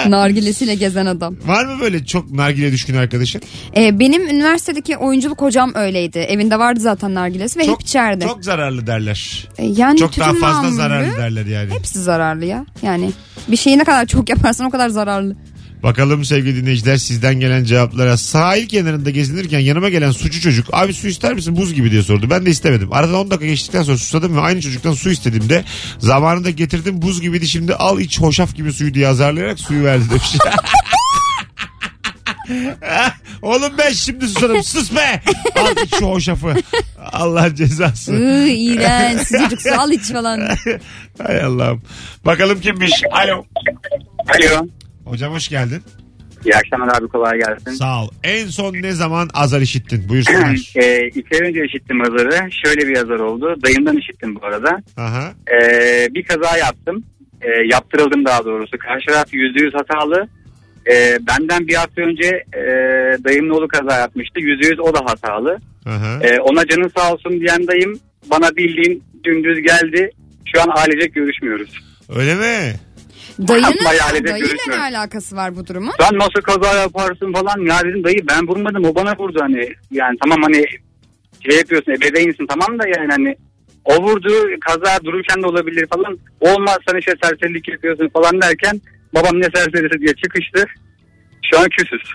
[SPEAKER 3] Nargilesiyle gezen adam.
[SPEAKER 2] Var mı böyle çok nargile düşkün arkadaşın?
[SPEAKER 3] Ee, benim üniversitedeki oyunculuk hocam öyleydi. Evinde vardı zaten nargilesi ve hep içerdi.
[SPEAKER 2] Çok zararlı derler.
[SPEAKER 3] Ee, yani
[SPEAKER 2] Çok daha
[SPEAKER 3] tütün
[SPEAKER 2] fazla
[SPEAKER 3] mamulü-
[SPEAKER 2] zararlı derler yani.
[SPEAKER 3] Hepsi zararlı ya. Yani bir şeyi ne kadar çok yaparsan o kadar zararlı.
[SPEAKER 2] Bakalım sevgili dinleyiciler sizden gelen cevaplara. Sahil kenarında gezinirken yanıma gelen suçu çocuk. Abi su ister misin buz gibi diye sordu. Ben de istemedim. Aradan 10 dakika geçtikten sonra susadım ve aynı çocuktan su istediğimde zamanında getirdim buz gibiydi şimdi al iç hoşaf gibi suyu diye azarlayarak suyu verdi demiş. Oğlum ben şimdi susadım sus be. Al iç şu hoşafı. Allah cezası.
[SPEAKER 3] Iı iğrenç sıcacık su al iç falan.
[SPEAKER 2] Hay Allah'ım. Bakalım kimmiş? Alo.
[SPEAKER 4] Alo.
[SPEAKER 2] Hocam hoş geldin.
[SPEAKER 4] İyi akşamlar abi kolay gelsin.
[SPEAKER 2] Sağ ol. En son ne zaman azar işittin? Buyursunlar.
[SPEAKER 4] Ee, iki ay önce işittim azarı. Şöyle bir azar oldu. Dayımdan işittim bu arada.
[SPEAKER 2] Aha.
[SPEAKER 4] Ee, bir kaza yaptım. Ee, yaptırıldım daha doğrusu. Karşı taraf yüzde yüz hatalı. Ee, benden bir hafta önce e, dayımın oğlu kaza yapmıştı. Yüzde yüz o da hatalı.
[SPEAKER 2] Aha.
[SPEAKER 4] Ee, ona canın sağ olsun diyen dayım bana bildiğin dümdüz geldi. Şu an ailecek görüşmüyoruz.
[SPEAKER 2] Öyle mi?
[SPEAKER 3] Dayının
[SPEAKER 4] Bayağı halde
[SPEAKER 3] dayıyla ne
[SPEAKER 4] görüşmüyorum.
[SPEAKER 3] alakası var bu durumun?
[SPEAKER 4] Sen nasıl kaza yaparsın falan. Ya dedim dayı ben vurmadım o bana vurdu hani. Yani tamam hani şey yapıyorsun ebeveynsin tamam da yani hani o vurdu kaza dururken de olabilir falan. Olmaz sen işte serserilik yapıyorsun falan derken babam ne serserisi diye çıkıştı. Şu an küsüz.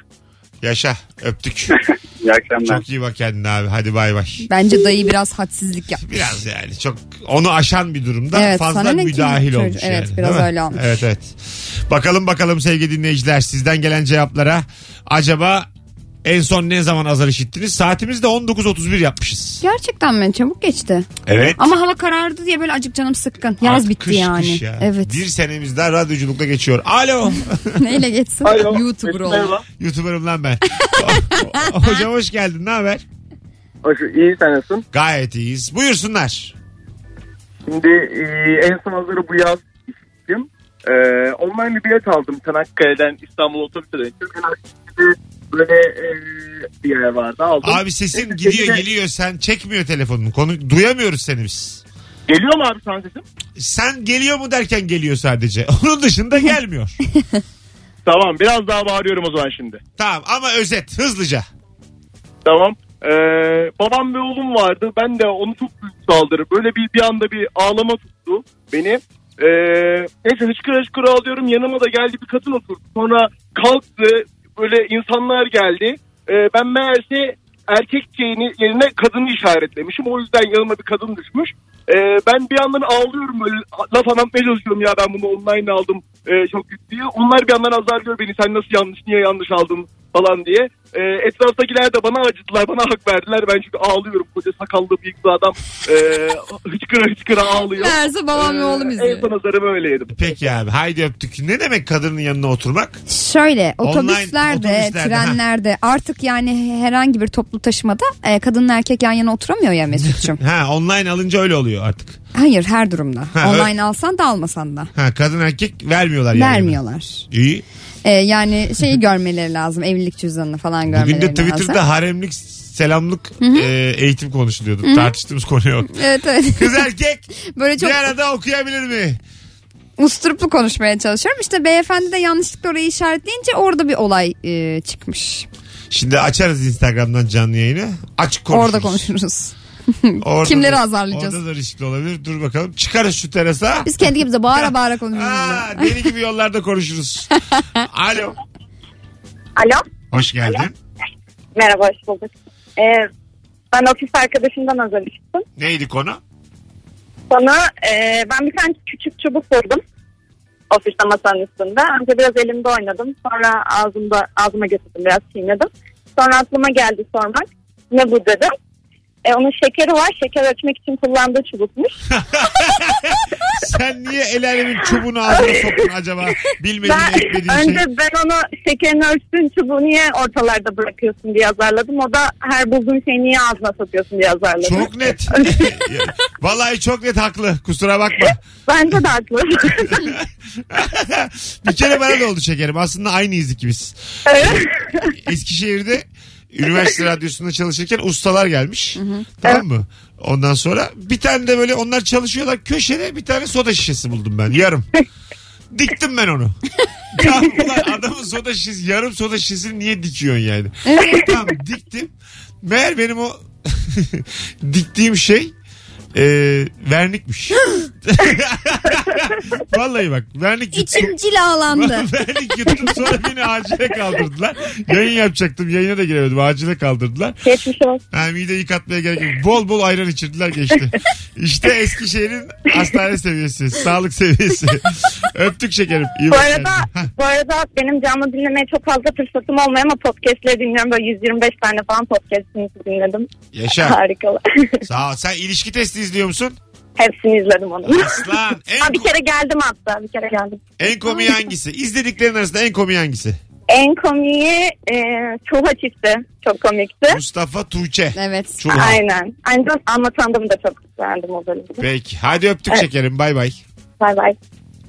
[SPEAKER 2] Yaşa. Öptük.
[SPEAKER 4] İyi akşamlar.
[SPEAKER 2] Çok iyi bak kendine abi. Hadi bay bay.
[SPEAKER 3] Bence dayı biraz hadsizlik yapmış.
[SPEAKER 2] Biraz yani çok onu aşan bir durumda
[SPEAKER 3] Evet,
[SPEAKER 2] fazla
[SPEAKER 3] sana ne ki?
[SPEAKER 2] müdahil
[SPEAKER 3] Çocuğu-
[SPEAKER 2] olmuş.
[SPEAKER 3] evet,
[SPEAKER 2] yani,
[SPEAKER 3] biraz
[SPEAKER 2] değil mi?
[SPEAKER 3] öyle olmuş.
[SPEAKER 2] Evet evet. Bakalım bakalım sevgili dinleyiciler sizden gelen cevaplara acaba en son ne zaman azar işittiniz? Saatimiz de 19.31 yapmışız.
[SPEAKER 3] Gerçekten mi? Çabuk geçti.
[SPEAKER 2] Evet.
[SPEAKER 3] Ama hava karardı diye böyle acık canım sıkkın. Yaz
[SPEAKER 2] Artık
[SPEAKER 3] bitti
[SPEAKER 2] kış,
[SPEAKER 3] yani.
[SPEAKER 2] kış ya.
[SPEAKER 3] Evet.
[SPEAKER 2] Bir senemiz daha radyoculukla geçiyor. Alo.
[SPEAKER 3] Neyle geçsin?
[SPEAKER 7] Alo,
[SPEAKER 3] YouTuber
[SPEAKER 7] Mesut
[SPEAKER 3] ol.
[SPEAKER 7] merhaba.
[SPEAKER 2] YouTuber'ım lan ben. Hocam hoş geldin. Ne haber?
[SPEAKER 5] Hoş, iyi sen nasılsın?
[SPEAKER 2] Gayet iyiyiz. Buyursunlar.
[SPEAKER 5] Şimdi e, en son hazırı bu yaz işittim. E, online bir bilet aldım Çanakkale'den İstanbul otobüse dönüştüm. Hemen şimdi böyle e, bir yer vardı aldım.
[SPEAKER 2] Abi sesin
[SPEAKER 5] Neyse,
[SPEAKER 2] gidiyor
[SPEAKER 5] gece-
[SPEAKER 2] geliyor. Sen çekmiyor telefonunu. Konu duyamıyoruz seni biz.
[SPEAKER 5] Geliyor mu abi şu an sesim?
[SPEAKER 2] Sen geliyor mu derken geliyor sadece. Onun dışında gelmiyor.
[SPEAKER 5] Tamam biraz daha bağırıyorum o zaman şimdi.
[SPEAKER 2] tamam ama özet hızlıca.
[SPEAKER 5] Tamam. Ee, babam ve oğlum vardı. Ben de onu çok büyük saldırı. Böyle bir, bir anda bir ağlama tuttu beni. Ee, neyse hışkıra hışkıra ağlıyorum. Yanıma da geldi bir kadın oturdu. Sonra kalktı. Böyle insanlar geldi. Ee, ben meğerse erkek şeyini, yerine kadını işaretlemişim. O yüzden yanıma bir kadın düşmüş. Ee, ben bir yandan ağlıyorum böyle laf anlatmaya çalışıyorum ya e, ben bunu online aldım Ee, çok kötü diye. Onlar bir yandan azar diyor beni sen nasıl yanlış niye yanlış aldın
[SPEAKER 9] falan diye. E, etraftakiler de bana acıdılar. Bana hak verdiler. Ben çünkü ağlıyorum. Koca sakallı bıyıklı adam e, hıçkıra hıçkıra ağlıyor.
[SPEAKER 3] Meğerse
[SPEAKER 5] Ee,
[SPEAKER 3] babam ve oğlum
[SPEAKER 9] En
[SPEAKER 3] izliyor.
[SPEAKER 9] son azarımı öyle yedim.
[SPEAKER 2] Peki abi haydi öptük. Ne demek kadının yanına oturmak?
[SPEAKER 3] Şöyle
[SPEAKER 2] Online
[SPEAKER 3] otobüslerde,
[SPEAKER 2] otobüslerde, ha.
[SPEAKER 3] trenlerde artık yani herhangi bir toplu taşımada e, kadın erkek yan yana oturamıyor ya Mesut'cum.
[SPEAKER 2] Ha online alınca öyle oluyor artık.
[SPEAKER 3] Hayır her durumda.
[SPEAKER 2] Ha,
[SPEAKER 3] Online alsan da almasan da.
[SPEAKER 2] Ha kadın erkek vermiyorlar yani.
[SPEAKER 3] Vermiyorlar.
[SPEAKER 2] İyi.
[SPEAKER 3] E, yani şeyi görmeleri lazım. Evlilik cüzdanını falan görmeleri
[SPEAKER 2] Bugün de
[SPEAKER 3] lazım.
[SPEAKER 2] Twitter'da haremlik selamlık e, eğitim konuşuluyordu. Tartıştığımız konu yok.
[SPEAKER 3] Evet evet.
[SPEAKER 2] Kız erkek
[SPEAKER 3] Böyle çok
[SPEAKER 2] bir arada okuyabilir mi?
[SPEAKER 3] usturuplu konuşmaya çalışıyorum. İşte beyefendi de yanlışlıkla orayı işaretleyince orada bir olay e, çıkmış.
[SPEAKER 2] Şimdi açarız Instagram'dan canlı yayını. Açık konuşuruz.
[SPEAKER 3] Orada konuşuruz.
[SPEAKER 2] Orada
[SPEAKER 3] Kimleri
[SPEAKER 2] da-
[SPEAKER 3] azarlayacağız?
[SPEAKER 2] Orada da riskli olabilir. Dur bakalım. Çıkarız şu terasa.
[SPEAKER 3] Biz kendi gibi bağıra bağıra konuşuyoruz.
[SPEAKER 2] Aa, deli gibi yollarda konuşuruz. Alo.
[SPEAKER 10] Alo.
[SPEAKER 2] Hoş geldin.
[SPEAKER 10] Merhaba hoş bulduk. Ee, ben ofis arkadaşımdan hazır çıktım.
[SPEAKER 2] Neydi konu?
[SPEAKER 10] Sana e, ben bir tane küçük çubuk vurdum. Ofiste masanın üstünde. Önce biraz elimde oynadım. Sonra ağzımda, ağzıma götürdüm biraz çiğnedim. Sonra aklıma geldi sormak. Ne bu dedim. E, onun şekeri var. Şeker ölçmek için kullandığı çubukmuş.
[SPEAKER 2] Sen niye el alemin çubuğunu ağzına soktun acaba? Bilmediğin
[SPEAKER 10] Ben,
[SPEAKER 2] etmediğin şey.
[SPEAKER 10] önce ben onu şekerini ölçtüğün çubuğu niye ortalarda bırakıyorsun diye azarladım. O da her bulduğun şeyi niye ağzına satıyorsun diye azarladı.
[SPEAKER 2] Çok net. Vallahi çok net haklı. Kusura bakma.
[SPEAKER 10] Bence de haklı.
[SPEAKER 2] bir kere bana da oldu şekerim. Aslında aynıyız ikimiz. Eskişehir'de üniversite radyosunda çalışırken ustalar gelmiş. Tamam mı? Ondan sonra bir tane de böyle onlar çalışıyorlar. Köşede bir tane soda şişesi buldum ben. Yarım. Diktim ben onu. Tamam ulan adamın soda şişesi yarım soda şişesini niye dikiyorsun yani? tamam diktim. Meğer benim o diktiğim şey e, vernikmiş. Vallahi bak vernik
[SPEAKER 3] İçim cilalandı.
[SPEAKER 2] vernik yuttum sonra beni acile kaldırdılar. Yayın yapacaktım yayına da giremedim acile kaldırdılar.
[SPEAKER 10] Geçmiş olsun.
[SPEAKER 2] Ha, mide yıkatmaya gerek yok. Bol bol ayran içirdiler geçti. İşte Eskişehir'in hastane seviyesi, sağlık seviyesi. Öptük şekerim. iyi
[SPEAKER 10] Bu
[SPEAKER 2] bak
[SPEAKER 10] arada,
[SPEAKER 2] kendine. Hah,
[SPEAKER 10] bu arada benim canlı dinlemeye çok fazla fırsatım olmuyor ama podcastleri dinliyorum. Böyle 125 tane falan podcastinizi dinledim.
[SPEAKER 2] Yaşa.
[SPEAKER 10] Harikalar.
[SPEAKER 2] Sağ ol. Sen ilişki testi izliyor musun?
[SPEAKER 10] Hepsini izledim onun.
[SPEAKER 2] Aslan.
[SPEAKER 10] Ha,
[SPEAKER 2] En,
[SPEAKER 10] bir kere geldim hatta. Bir kere geldim.
[SPEAKER 2] en komiği hangisi? İzlediklerin arasında en komiği hangisi?
[SPEAKER 10] En komiği e, Çuha çifti. Çok komikti.
[SPEAKER 2] Mustafa Tuğçe.
[SPEAKER 3] evet.
[SPEAKER 2] Çuha.
[SPEAKER 10] Aynen. Aynen anlatandım da çok beğendim o bölümü.
[SPEAKER 2] Peki. Hadi öptük
[SPEAKER 10] Evet.
[SPEAKER 2] şekerim. Bay bay.
[SPEAKER 10] Bay bay.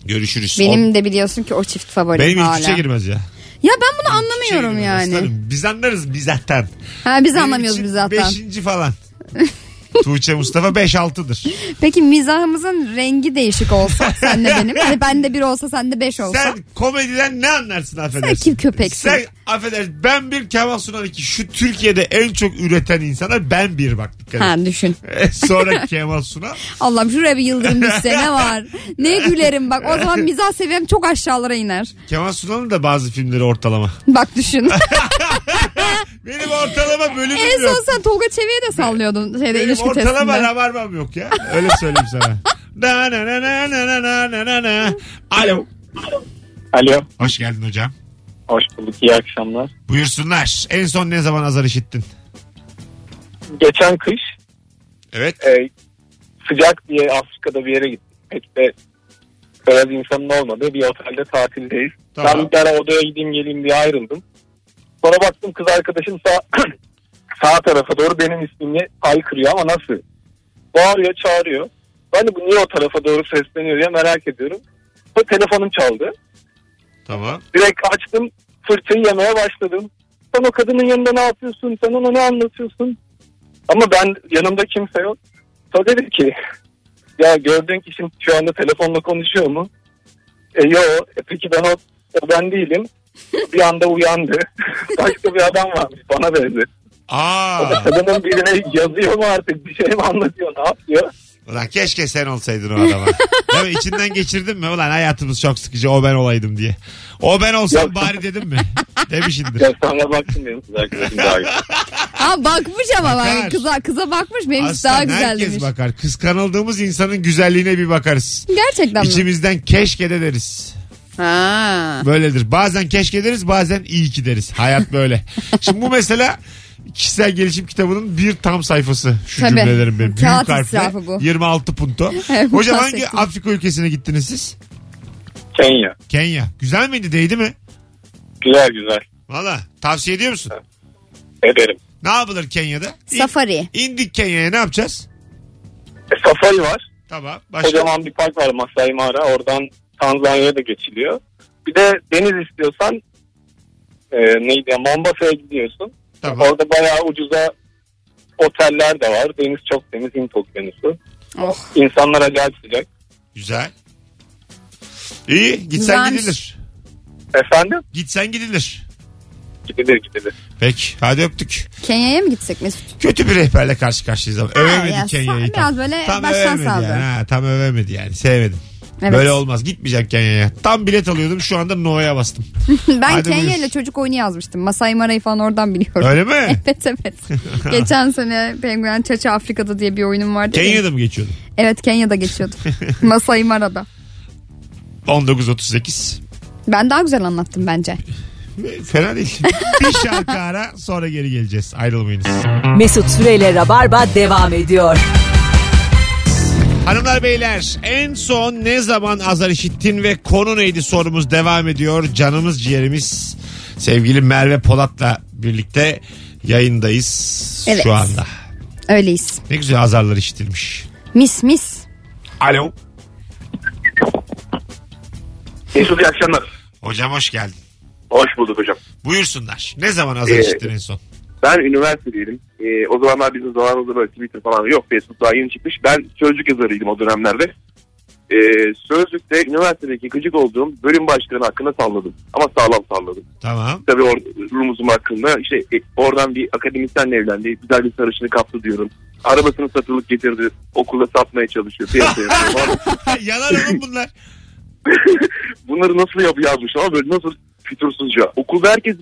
[SPEAKER 2] Görüşürüz.
[SPEAKER 3] Benim de biliyorsun ki o çift favorim
[SPEAKER 2] benim
[SPEAKER 3] hala.
[SPEAKER 2] hiç içe girmez ya.
[SPEAKER 3] Ya ben bunu
[SPEAKER 2] İçe
[SPEAKER 3] anlamıyorum
[SPEAKER 2] girmez
[SPEAKER 3] yani.
[SPEAKER 2] aslanım. Biz anlarız biz zaten.
[SPEAKER 3] Ha, biz
[SPEAKER 2] Benim
[SPEAKER 3] anlamıyoruz
[SPEAKER 2] için
[SPEAKER 3] biz zaten.
[SPEAKER 2] Beşinci falan. Tuğçe Mustafa 5-6'dır.
[SPEAKER 3] Peki mizahımızın rengi değişik olsa senle benim. Hani bende bir olsa sende beş olsa.
[SPEAKER 2] Sen komediden ne anlarsın affedersin?
[SPEAKER 3] Sen kim köpeksin?
[SPEAKER 2] Sen affedersin ben bir Kemal Sunal iki şu Türkiye'de en çok üreten insanlar ben bir bak dikkat et. E,
[SPEAKER 3] Ha düşün.
[SPEAKER 2] Sonra Kemal Sunal.
[SPEAKER 3] Allah'ım şuraya bir yıldırım düşse ne var? Ne gülerim bak. O zaman mizah seviyem çok aşağılara iner.
[SPEAKER 2] Kemal Sunal'ın da bazı filmleri ortalama.
[SPEAKER 3] Bak düşün.
[SPEAKER 2] Benim ortalama bölümüm
[SPEAKER 3] en
[SPEAKER 2] yok.
[SPEAKER 3] son sen Tolga Çevi'ye de sallıyordun şeyde
[SPEAKER 2] Benim
[SPEAKER 3] ilişki
[SPEAKER 2] ortalama
[SPEAKER 3] testinde.
[SPEAKER 2] rabarbam yok ya. Öyle söyleyeyim sana. Na na na na na na na na na. Alo.
[SPEAKER 8] Alo.
[SPEAKER 2] Hoş geldin hocam.
[SPEAKER 8] Hoş bulduk. iyi akşamlar.
[SPEAKER 2] Buyursunlar. En son ne zaman azar işittin?
[SPEAKER 8] Geçen kış
[SPEAKER 2] Evet.
[SPEAKER 8] e, sıcak diye Afrika'da bir yere gittik. Pek de biraz insanın olmadığı bir otelde tatildeyiz.
[SPEAKER 2] Tamam.
[SPEAKER 8] Ben bir ara odaya gideyim geleyim diye ayrıldım. Sonra baktım kız arkadaşım sağ, sağ tarafa doğru benim ismimle haykırıyor ama nasıl? Bağırıyor çağırıyor. Ben de bu niye o tarafa doğru sesleniyor diye merak ediyorum. Bu telefonum çaldı.
[SPEAKER 2] Tamam.
[SPEAKER 8] Direkt açtım fırçayı yemeye başladım. Sen o kadının yanında ne yapıyorsun? Sen ona ne anlatıyorsun? Ama ben yanımda kimse yok. Sonra dedim ki ya gördüğün kişi şu anda telefonla konuşuyor mu? E yo e, peki ben o, o ben değilim. Bir anda uyandı. Başka bir adam varmış bana benzer.
[SPEAKER 2] Aa.
[SPEAKER 8] Kadının birine yazıyor mu artık bir şey mi anlatıyor ne yapıyor?
[SPEAKER 2] Ulan keşke sen olsaydın o adama. Değil mi? İçinden geçirdin mi? Ulan hayatımız çok sıkıcı o ben olaydım diye. O ben olsam
[SPEAKER 8] Yok.
[SPEAKER 2] bari dedim mi? Demişindir.
[SPEAKER 8] Ya sonra baktım benim kız arkadaşım daha iyi.
[SPEAKER 3] Ha bakmış ama bak,
[SPEAKER 2] Bakar.
[SPEAKER 3] kıza kıza bakmış benim
[SPEAKER 2] Aslan
[SPEAKER 3] daha güzel
[SPEAKER 2] herkes
[SPEAKER 3] demiş.
[SPEAKER 2] bakar. Kıskanıldığımız insanın güzelliğine bir bakarız.
[SPEAKER 3] Gerçekten mi?
[SPEAKER 2] İçimizden keşke de deriz.
[SPEAKER 11] Ha.
[SPEAKER 2] Böyledir. Bazen keşke deriz bazen iyi ki deriz. Hayat böyle. Şimdi bu mesela kişisel gelişim kitabının bir tam sayfası. Şu
[SPEAKER 3] Tabii.
[SPEAKER 2] cümlelerim benim. Büyük
[SPEAKER 3] Kağıt
[SPEAKER 2] harfle.
[SPEAKER 3] israfı bu.
[SPEAKER 2] 26 punto.
[SPEAKER 3] Evet,
[SPEAKER 2] Hocam hangi
[SPEAKER 3] bahsettim.
[SPEAKER 2] Afrika ülkesine gittiniz siz?
[SPEAKER 12] Kenya.
[SPEAKER 2] Kenya. Güzel miydi değdi mi?
[SPEAKER 12] Güzel güzel.
[SPEAKER 2] Valla tavsiye ediyor musun?
[SPEAKER 12] Ederim.
[SPEAKER 2] Ne yapılır Kenya'da? İn-
[SPEAKER 3] Safari.
[SPEAKER 2] indik Kenya'ya ne yapacağız?
[SPEAKER 12] E, safari var.
[SPEAKER 2] Tamam. Başka?
[SPEAKER 12] Kocaman bir park var Masai Mara. Oradan Tanzanya'ya da geçiliyor. Bir de deniz istiyorsan e, neydi ya Mombasa'ya gidiyorsun.
[SPEAKER 2] Tamam.
[SPEAKER 12] Orada bayağı ucuza oteller de var. Deniz çok temiz. Hint okyanusu.
[SPEAKER 11] Oh.
[SPEAKER 12] İnsanlar acayip sıcak.
[SPEAKER 2] Güzel. İyi. Gitsen
[SPEAKER 3] Güzelmiş.
[SPEAKER 2] gidilir.
[SPEAKER 12] Efendim?
[SPEAKER 2] Gitsen gidilir.
[SPEAKER 12] Gidilir gidilir.
[SPEAKER 2] Peki. Hadi öptük.
[SPEAKER 3] Kenya'ya mı gittik Mesut?
[SPEAKER 2] Kötü bir rehberle karşı karşıyayız ama.
[SPEAKER 3] ya,
[SPEAKER 2] Övemedik Kenya'yı
[SPEAKER 3] sa-
[SPEAKER 2] tam.
[SPEAKER 3] biraz böyle
[SPEAKER 2] Tam
[SPEAKER 3] Ee, baştan
[SPEAKER 2] övemedi
[SPEAKER 3] saldı.
[SPEAKER 2] yani. Ha, tam övemedi yani. Sevmedim.
[SPEAKER 3] Evet.
[SPEAKER 2] Böyle olmaz. Gitmeyecek Kenya'ya. Tam bilet alıyordum. Şu anda No'ya bastım.
[SPEAKER 3] ben
[SPEAKER 2] Hadi
[SPEAKER 3] Kenya ile
[SPEAKER 2] buyur.
[SPEAKER 3] çocuk oyunu yazmıştım. Masai Mara'yı falan oradan biliyorum.
[SPEAKER 2] Öyle mi?
[SPEAKER 3] Evet evet. Geçen sene Penguen Çaça Afrika'da diye bir oyunum vardı. ya.
[SPEAKER 2] Kenya'da mı geçiyordum?
[SPEAKER 3] Evet Kenya'da geçiyordum. Masai Mara'da.
[SPEAKER 2] 19.38.
[SPEAKER 3] Ben daha güzel anlattım bence.
[SPEAKER 2] Fena değil. bir şarkı ara sonra geri geleceğiz. Ayrılmayınız.
[SPEAKER 1] Mesut Süreyle Rabarba devam ediyor.
[SPEAKER 2] Hanımlar beyler en son ne zaman azar işittin ve konu neydi sorumuz devam ediyor. Canımız ciğerimiz sevgili Merve Polat'la birlikte yayındayız
[SPEAKER 3] Evet.
[SPEAKER 2] şu anda.
[SPEAKER 3] Öyleyiz.
[SPEAKER 2] Ne güzel azarlar işitilmiş.
[SPEAKER 3] Mis mis.
[SPEAKER 2] Alo.
[SPEAKER 12] Mesut iyi akşamlar.
[SPEAKER 2] Hocam hoş geldin.
[SPEAKER 12] Hoş bulduk hocam.
[SPEAKER 2] Buyursunlar. Ne zaman azar
[SPEAKER 12] Ee,
[SPEAKER 2] işittin en son?
[SPEAKER 12] Ben üniversitedeydim. Ee, o zamanlar bizim zamanımızda böyle Twitter falan yok. Facebook daha yeni çıkmış. Ben sözlük yazarıydım o dönemlerde. Ee, sözlükte üniversitedeki gıcık olduğum bölüm başkanı hakkında salladım. Ama sağlam salladım.
[SPEAKER 2] Tamam.
[SPEAKER 12] Tabii or rumuzum hakkında işte e, oradan bir akademisyenle evlendi. Güzel bir sarışını kaptı diyorum. Arabasını satılık getirdi. Okulda satmaya çalışıyor. Piyasaya yapıyor.
[SPEAKER 2] Yalan oğlum bunlar.
[SPEAKER 12] Bunları nasıl yap yazmış ama böyle nasıl fütursuzca. Okulda herkes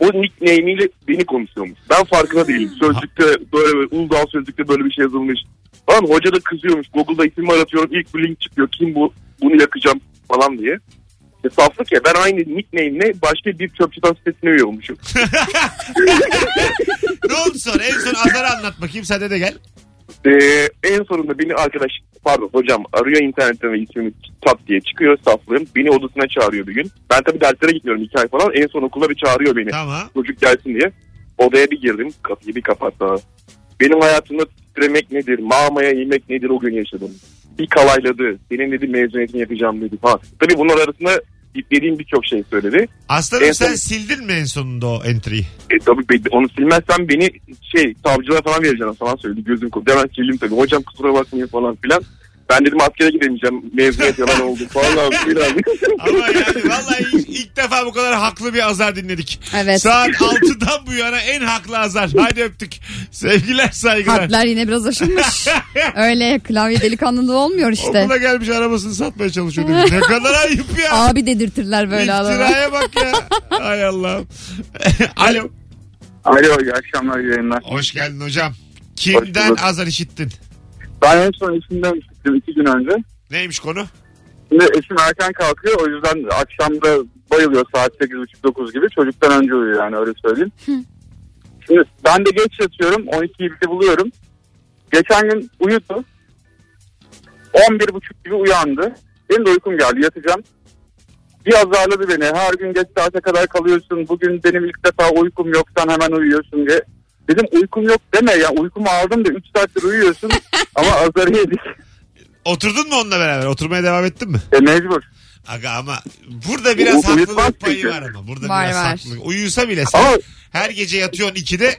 [SPEAKER 12] o nickname'iyle beni konuşuyormuş. Ben farkında değilim. Sözlükte böyle, böyle Uludağ sözlükte böyle bir şey yazılmış. Falan hoca da kızıyormuş. Google'da ismimi aratıyorum. İlk bir link çıkıyor. Kim bu? Bunu yakacağım falan diye. E, saflık ya ben aynı nickname'le başka bir çöpçüden sitesine üye olmuşum.
[SPEAKER 2] Ne oldu sonra? En son azarı anlat bakayım. Sen de gel.
[SPEAKER 12] Ee, en sonunda beni arkadaş pardon hocam arıyor internetten ve ismimi tat diye çıkıyor saflığım. Beni odasına çağırıyor bir gün. Ben tabii derslere gitmiyorum iki ay falan. En son okula bir çağırıyor beni.
[SPEAKER 2] Tamam.
[SPEAKER 12] çocuk gelsin diye. Odaya bir girdim kapıyı bir kapattı. Benim hayatımda titremek nedir, mağmaya inmek nedir o gün yaşadım. Bir kalayladı, senin dedi mezuniyetini yapacağım dedi falan. Tabii bunlar arasında dediğim birçok şey söyledi.
[SPEAKER 2] Aslanım
[SPEAKER 12] En
[SPEAKER 2] sen
[SPEAKER 12] son-
[SPEAKER 2] sildin mi en sonunda o entry'yi?
[SPEAKER 12] E, tabii be- onu silmezsem beni şey savcılara falan vereceğim falan söyledi gözüm kurdu. Hemen sildim tabii hocam kusura bakmayın falan filan. Ben dedim askere gidemeyeceğim mezuniyet yalan oldu falan filan.
[SPEAKER 2] Ama yani vallahi ilk, ilk defa bu kadar haklı bir azar dinledik.
[SPEAKER 3] Evet.
[SPEAKER 2] Saat 6'dan bu yana en haklı azar. Haydi öptük. Sevgiler saygılar.
[SPEAKER 3] Harpler yine biraz aşınmış. Öyle klavye delikanlılığı olmuyor işte.
[SPEAKER 2] Okula gelmiş arabasını satmaya çalışıyor. demiş. Ne kadar ayıp ya.
[SPEAKER 3] Abi dedirtirler böyle adama.
[SPEAKER 2] İftiraya bak ya. Hay Allah'ım. Alo.
[SPEAKER 12] Alo iyi akşamlar iyi yayınlar.
[SPEAKER 2] Hoş geldin hocam. Kimden
[SPEAKER 12] bulduk.
[SPEAKER 2] azar işittin?
[SPEAKER 12] Ben en son eşimden işittim iki gün önce.
[SPEAKER 2] Neymiş konu?
[SPEAKER 12] Şimdi eşim erken kalkıyor o yüzden akşamda bayılıyor saat 8.30-9 gibi çocuktan önce uyuyor yani öyle söyleyeyim. Şimdi ben de geç yatıyorum 12'yi bir buluyorum. Geçen gün uyudu. 11.30 gibi uyandı. Benim de uykum geldi yatacağım. Bir azarladı beni her gün geç saate kadar kalıyorsun bugün benim ilk defa uykum yok sen hemen uyuyorsun diye. Dedim uykum yok deme ya uykumu aldım da 3 saattir uyuyorsun ama azarı yedik.
[SPEAKER 2] Oturdun mu onunla beraber? Oturmaya devam ettin mi?
[SPEAKER 12] E mecbur.
[SPEAKER 2] Aga ama burada biraz
[SPEAKER 12] Uyutmaz
[SPEAKER 2] haklılık payı
[SPEAKER 12] çünkü.
[SPEAKER 2] var ama. Burada
[SPEAKER 3] Var,
[SPEAKER 2] biraz
[SPEAKER 3] var.
[SPEAKER 2] haklılık. Uyusa bile sen
[SPEAKER 12] Ama
[SPEAKER 2] her gece yatıyorsun 2'de.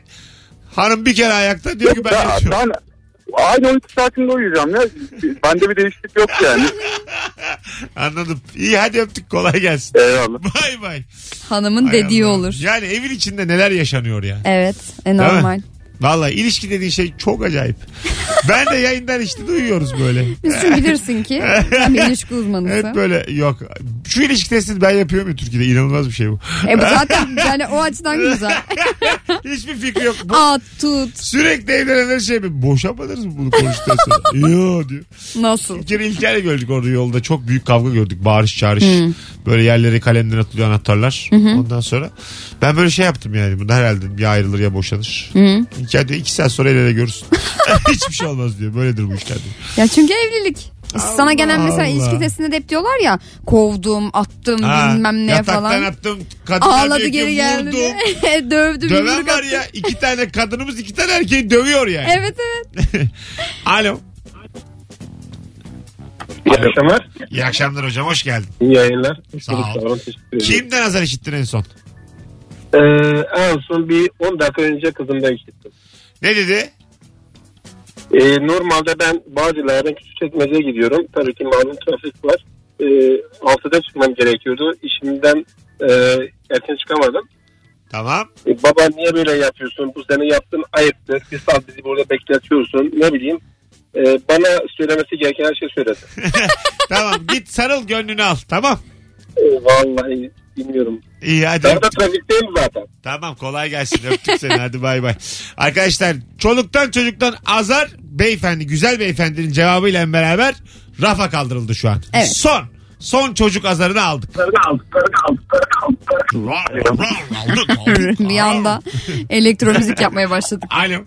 [SPEAKER 2] Hanım bir kere ayakta diyor ki ben
[SPEAKER 12] Ya,
[SPEAKER 2] yatıyorum.
[SPEAKER 12] ben aynı 12 saatinde uyuyacağım ya. Bende bir değişiklik yok yani.
[SPEAKER 2] Anladım. İyi hadi öptük kolay gelsin.
[SPEAKER 12] Eyvallah.
[SPEAKER 2] Bay bay.
[SPEAKER 3] Hanımın
[SPEAKER 2] Hay
[SPEAKER 3] dediği
[SPEAKER 2] Allah.
[SPEAKER 3] olur.
[SPEAKER 2] Yani evin içinde neler yaşanıyor ya.
[SPEAKER 3] Evet, e,
[SPEAKER 2] mi?
[SPEAKER 3] normal.
[SPEAKER 2] Vallahi ilişki dediğin şey çok acayip. ben de yayından işte duyuyoruz böyle.
[SPEAKER 3] Mesut'cum bilirsin ki sen bir ilişki uzmanısın.
[SPEAKER 2] Evet böyle yok. Şu ilişki testini ben yapıyorum ya Türkiye'de. İnanılmaz bir şey bu.
[SPEAKER 3] E bu zaten yani o açıdan güzel.
[SPEAKER 2] Hiçbir fikri yok. Bu
[SPEAKER 3] At, tut,
[SPEAKER 2] sürekli evlenenler şey mi? Boşamadınız mı bunu konuştuktan sonra? Yo diyor.
[SPEAKER 3] nasıl?
[SPEAKER 2] Bir kere İlker'le gördük orada yolda. Çok büyük kavga gördük. Bağırış çağırış. Böyle yerlere kalemden atılıyor anahtarlar. Ondan sonra ben böyle şey yaptım yani. Bunda herhalde ya ayrılır ya boşanır. İlker diyor iki saat sonra el ele görürsün. Hiçbir şey olmaz diyor. Böyledir bu işler diyor.
[SPEAKER 3] Ya çünkü evlilik. Sana gelen mesela
[SPEAKER 2] Allah.
[SPEAKER 3] ilişki testinde de hep diyorlar ya kovdum, attım
[SPEAKER 2] Ha,
[SPEAKER 3] bilmem ne
[SPEAKER 2] yataktan
[SPEAKER 3] falan.
[SPEAKER 2] attım. Kadınlar
[SPEAKER 3] Ağladı
[SPEAKER 2] diyor ki,
[SPEAKER 3] geri geldi.
[SPEAKER 2] "Vurdum."
[SPEAKER 3] diye. Dövdü,
[SPEAKER 2] Döven
[SPEAKER 3] yumruk
[SPEAKER 2] var
[SPEAKER 3] attı.
[SPEAKER 2] ya. iki tane kadınımız iki tane erkeği dövüyor yani.
[SPEAKER 3] Evet evet.
[SPEAKER 2] Alo.
[SPEAKER 5] İyi akşamlar.
[SPEAKER 2] İyi akşamlar hocam. Hoş geldin.
[SPEAKER 5] İyi yayınlar.
[SPEAKER 2] Sağ ol.
[SPEAKER 5] Sağ olun. Teşekkür ederim.
[SPEAKER 2] Kimden azar işittin en son?
[SPEAKER 5] Ee, en son bir 10 dakika önce kızımdan işittim.
[SPEAKER 2] Ne dedi?
[SPEAKER 5] Ee, normalde ben Bağcılar'dan Küçükçekmece'ye gidiyorum. Tabii ki malum trafik var. Ee, 6'da çıkmam gerekiyordu. İşimden e, erken çıkamadım.
[SPEAKER 2] Tamam.
[SPEAKER 5] E, baba niye böyle yapıyorsun? Bu sene yaptığın ayıptır. Bir saat bizi burada bekletiyorsun. Ne bileyim. E, bana söylemesi gereken her şeyi söyledi.
[SPEAKER 2] tamam git sarıl gönlünü al. Tamam.
[SPEAKER 5] E, vallahi bilmiyorum.
[SPEAKER 2] İyi hadi.
[SPEAKER 5] Ben de trafikteyim zaten.
[SPEAKER 2] Tamam kolay gelsin öptük seni hadi bay bay. Arkadaşlar çoluktan çocuktan azar beyefendi güzel beyefendinin cevabıyla beraber rafa kaldırıldı şu an.
[SPEAKER 3] Evet.
[SPEAKER 2] Son. Son çocuk azarını aldık.
[SPEAKER 3] bir anda elektromüzik yapmaya başladık.
[SPEAKER 2] Alo.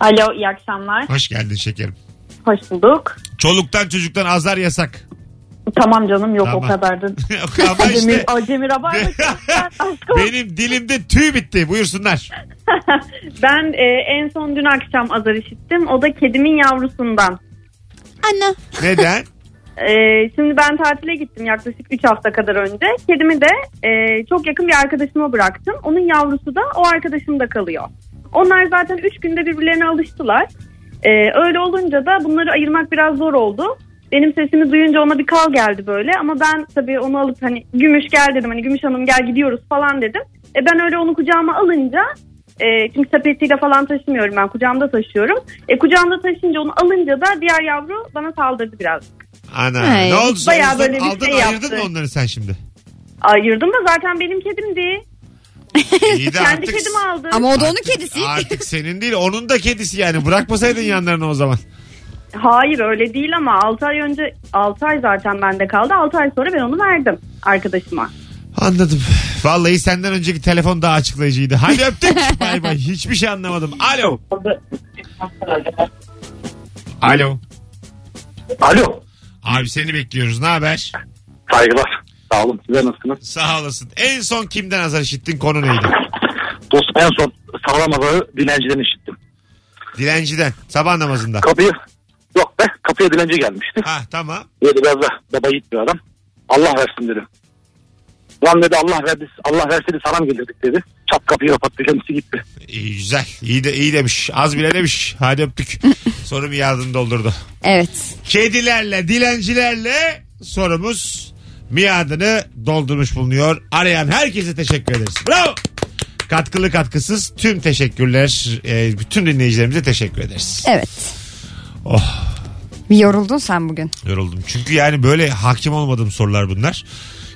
[SPEAKER 13] Alo iyi akşamlar.
[SPEAKER 2] Hoş geldin şekerim.
[SPEAKER 13] Hoş bulduk.
[SPEAKER 2] Çoluktan çocuktan azar yasak.
[SPEAKER 13] Tamam canım yok
[SPEAKER 2] Tamam.
[SPEAKER 13] o kadar da.
[SPEAKER 2] Ama işte
[SPEAKER 13] Acemi Rabar
[SPEAKER 2] benim dilimde tüy bitti. Buyursunlar.
[SPEAKER 13] Ben e, en son dün akşam azar işittim. O da kedimin yavrusundan.
[SPEAKER 3] Anne.
[SPEAKER 2] Neden?
[SPEAKER 13] Ee, şimdi ben tatile gittim yaklaşık 3 hafta kadar önce. Kedimi de e, çok yakın bir arkadaşıma bıraktım. Onun yavrusu da o arkadaşımda kalıyor. Onlar zaten 3 günde birbirlerine alıştılar. Ee, öyle olunca da bunları ayırmak biraz zor oldu. Benim sesimi duyunca ona bir kal geldi böyle ama ben tabii onu alıp hani Gümüş gel dedim hani Gümüş Hanım gel gidiyoruz falan dedim. E ben öyle onu kucağıma alınca e, çünkü sepetiyle falan taşımıyorum ben kucağımda taşıyorum. E kucağımda taşınca onu alınca da diğer yavru bana saldırdı biraz.
[SPEAKER 2] Ana
[SPEAKER 3] Ay,
[SPEAKER 2] ne oldu?
[SPEAKER 13] bayağı
[SPEAKER 2] Sonuçta
[SPEAKER 13] böyle bir
[SPEAKER 2] aldın,
[SPEAKER 13] şey
[SPEAKER 2] ayırdın
[SPEAKER 13] yaptı.
[SPEAKER 2] mı onları sen şimdi?
[SPEAKER 13] Ayırdım da zaten benim kedimdi.
[SPEAKER 2] İyi de
[SPEAKER 13] Kendi
[SPEAKER 2] artık,
[SPEAKER 13] kedimi aldım.
[SPEAKER 3] Ama o da onun kedisi.
[SPEAKER 2] artık senin değil onun da kedisi yani. Bırakmasaydın yanlarına o zaman.
[SPEAKER 13] Hayır öyle değil ama 6 ay önce 6 ay zaten bende kaldı. 6 ay sonra ben onu verdim arkadaşıma.
[SPEAKER 2] Anladım. Vallahi senden önceki telefon daha açıklayıcıydı. Hadi öptük. bay bay. Hiçbir şey anlamadım. Alo. Alo.
[SPEAKER 5] Alo.
[SPEAKER 2] Abi seni bekliyoruz. Ne haber?
[SPEAKER 5] Saygılar. Sağ olun. Size nasılsınız?
[SPEAKER 2] Sağ olasın. En son kimden azar işittin? Konu neydi?
[SPEAKER 5] Dostum en son sağlam azarı dilenciden işittim.
[SPEAKER 2] Dilenciden. Sabah namazında.
[SPEAKER 5] Kapıyı yok be kapıya dilenci gelmişti.
[SPEAKER 2] Ha tamam.
[SPEAKER 5] Böyle biraz da baba yiğit bir adam. Allah versin dedim. Lan dedi Allah verdi, Allah verseydi sana mı gelirdik dedi. Çat kapıyı kapattı kendisi gitti.
[SPEAKER 2] İyi, güzel. İyi, de, iyi demiş. Az bile demiş. Hadi öptük. Sorum yardını doldurdu.
[SPEAKER 3] Evet.
[SPEAKER 2] Kedilerle, dilencilerle sorumuz miadını doldurmuş bulunuyor. Arayan herkese teşekkür ederiz. Bravo. Katkılı katkısız tüm teşekkürler. e, bütün dinleyicilerimize teşekkür ederiz.
[SPEAKER 3] Evet.
[SPEAKER 2] Oh
[SPEAKER 3] Bir yoruldun sen bugün.
[SPEAKER 2] yoruldum. Çünkü yani böyle hakim olmadığım sorular bunlar.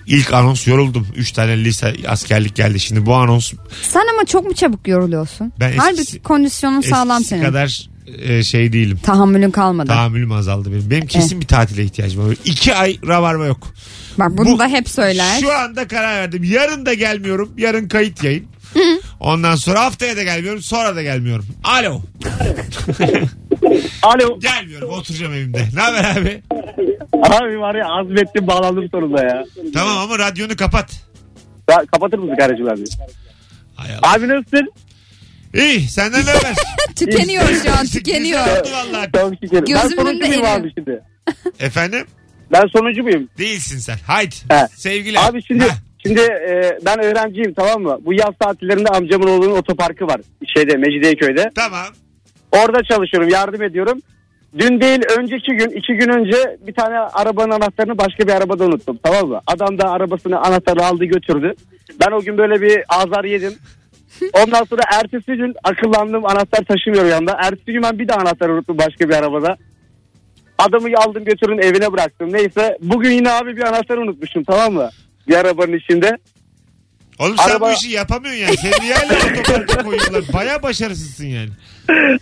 [SPEAKER 2] İlk anons yoruldum. Üç tane lise askerlik geldi. Şimdi bu anons
[SPEAKER 3] Sen ama çok mu çabuk yoruluyorsun?
[SPEAKER 2] Ben eskisi-
[SPEAKER 3] Halbuki kondisyonun sağlam
[SPEAKER 2] eskisi
[SPEAKER 3] senin.
[SPEAKER 2] kadar e, şey değilim.
[SPEAKER 3] Tahammülün kalmadı.
[SPEAKER 2] Tahammülüm azaldı benim.
[SPEAKER 3] Eh.
[SPEAKER 2] Benim kesin bir tatile ihtiyacım var. İki ay ravarma yok.
[SPEAKER 3] Bak bunu
[SPEAKER 2] Bu-
[SPEAKER 3] da hep söyler.
[SPEAKER 2] Şu anda karar verdim. Yarın da gelmiyorum. Yarın kayıt yayın. Ondan sonra haftaya da gelmiyorum. Sonra da gelmiyorum. Alo.
[SPEAKER 5] Alo.
[SPEAKER 2] Gelmiyorum. Oturacağım evimde. Ne haber abi?
[SPEAKER 5] Abi var ya azmettim bağlandım sonunda ya.
[SPEAKER 2] Tamam ama radyonu kapat.
[SPEAKER 5] ya kapatır mısın kardeşim abi?
[SPEAKER 2] Hay Allah.
[SPEAKER 5] Abi nasılsın?
[SPEAKER 2] İyi senden ne haber?
[SPEAKER 3] tükeniyor şu an
[SPEAKER 2] Güzel
[SPEAKER 3] tükeniyor.
[SPEAKER 2] oldu vallahi.
[SPEAKER 5] Tamam şekerim.
[SPEAKER 3] Gözümün
[SPEAKER 5] ben sonuncu
[SPEAKER 3] de
[SPEAKER 5] muyum
[SPEAKER 3] eriyor.
[SPEAKER 5] abi şimdi?
[SPEAKER 2] Efendim?
[SPEAKER 5] Ben sonuncu muyum?
[SPEAKER 2] Değilsin sen. Haydi.
[SPEAKER 5] He.
[SPEAKER 2] Sevgiler.
[SPEAKER 5] Abi şimdi
[SPEAKER 2] Heh.
[SPEAKER 5] şimdi e, ben öğrenciyim tamam mı? Bu yaz tatillerinde amcamın oğlunun otoparkı var. Şeyde Mecidiyeköy'de.
[SPEAKER 2] Tamam.
[SPEAKER 5] Orada çalışıyorum, yardım ediyorum. Dün değil, önceki gün, iki gün önce bir tane arabanın anahtarını başka bir arabada unuttum. Tamam mı? Adam da arabasını, anahtarı aldı götürdü. Ben o gün böyle bir azar yedim.
[SPEAKER 14] Ondan sonra ertesi gün akıllandım anahtar taşımıyor yanında. Ertesi gün ben bir de anahtarı unuttum başka bir arabada. Adamı aldım götürün evine bıraktım. Neyse bugün yine abi bir anahtarı unutmuşum tamam mı? Bir arabanın içinde.
[SPEAKER 2] Oğlum sen
[SPEAKER 14] Araba-
[SPEAKER 2] bu işi yapamıyorsun yani. Seni yerle otoparka koyuyorlar. Baya başarısızsın yani.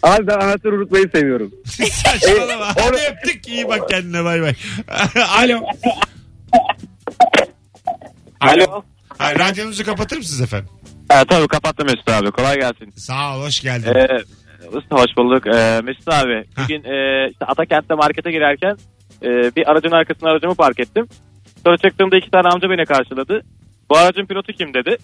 [SPEAKER 14] Abi ben anahtarı unutmayı seviyorum.
[SPEAKER 2] Saçmalama. Hadi öptük. İyi bak kendine bay bay. Alo. Alo. Ha, radyonuzu kapatır mısınız efendim?
[SPEAKER 5] E, tabii kapattım Mesut abi kolay gelsin.
[SPEAKER 2] Sağ ol hoş geldin.
[SPEAKER 5] E, Mesut hoş bulduk. E, Mesut abi bugün e, işte Atakent'te markete girerken e, bir aracın arkasına aracımı park ettim. Sonra çıktığımda iki tane amca beni karşıladı. Bu aracın pilotu kim dedi.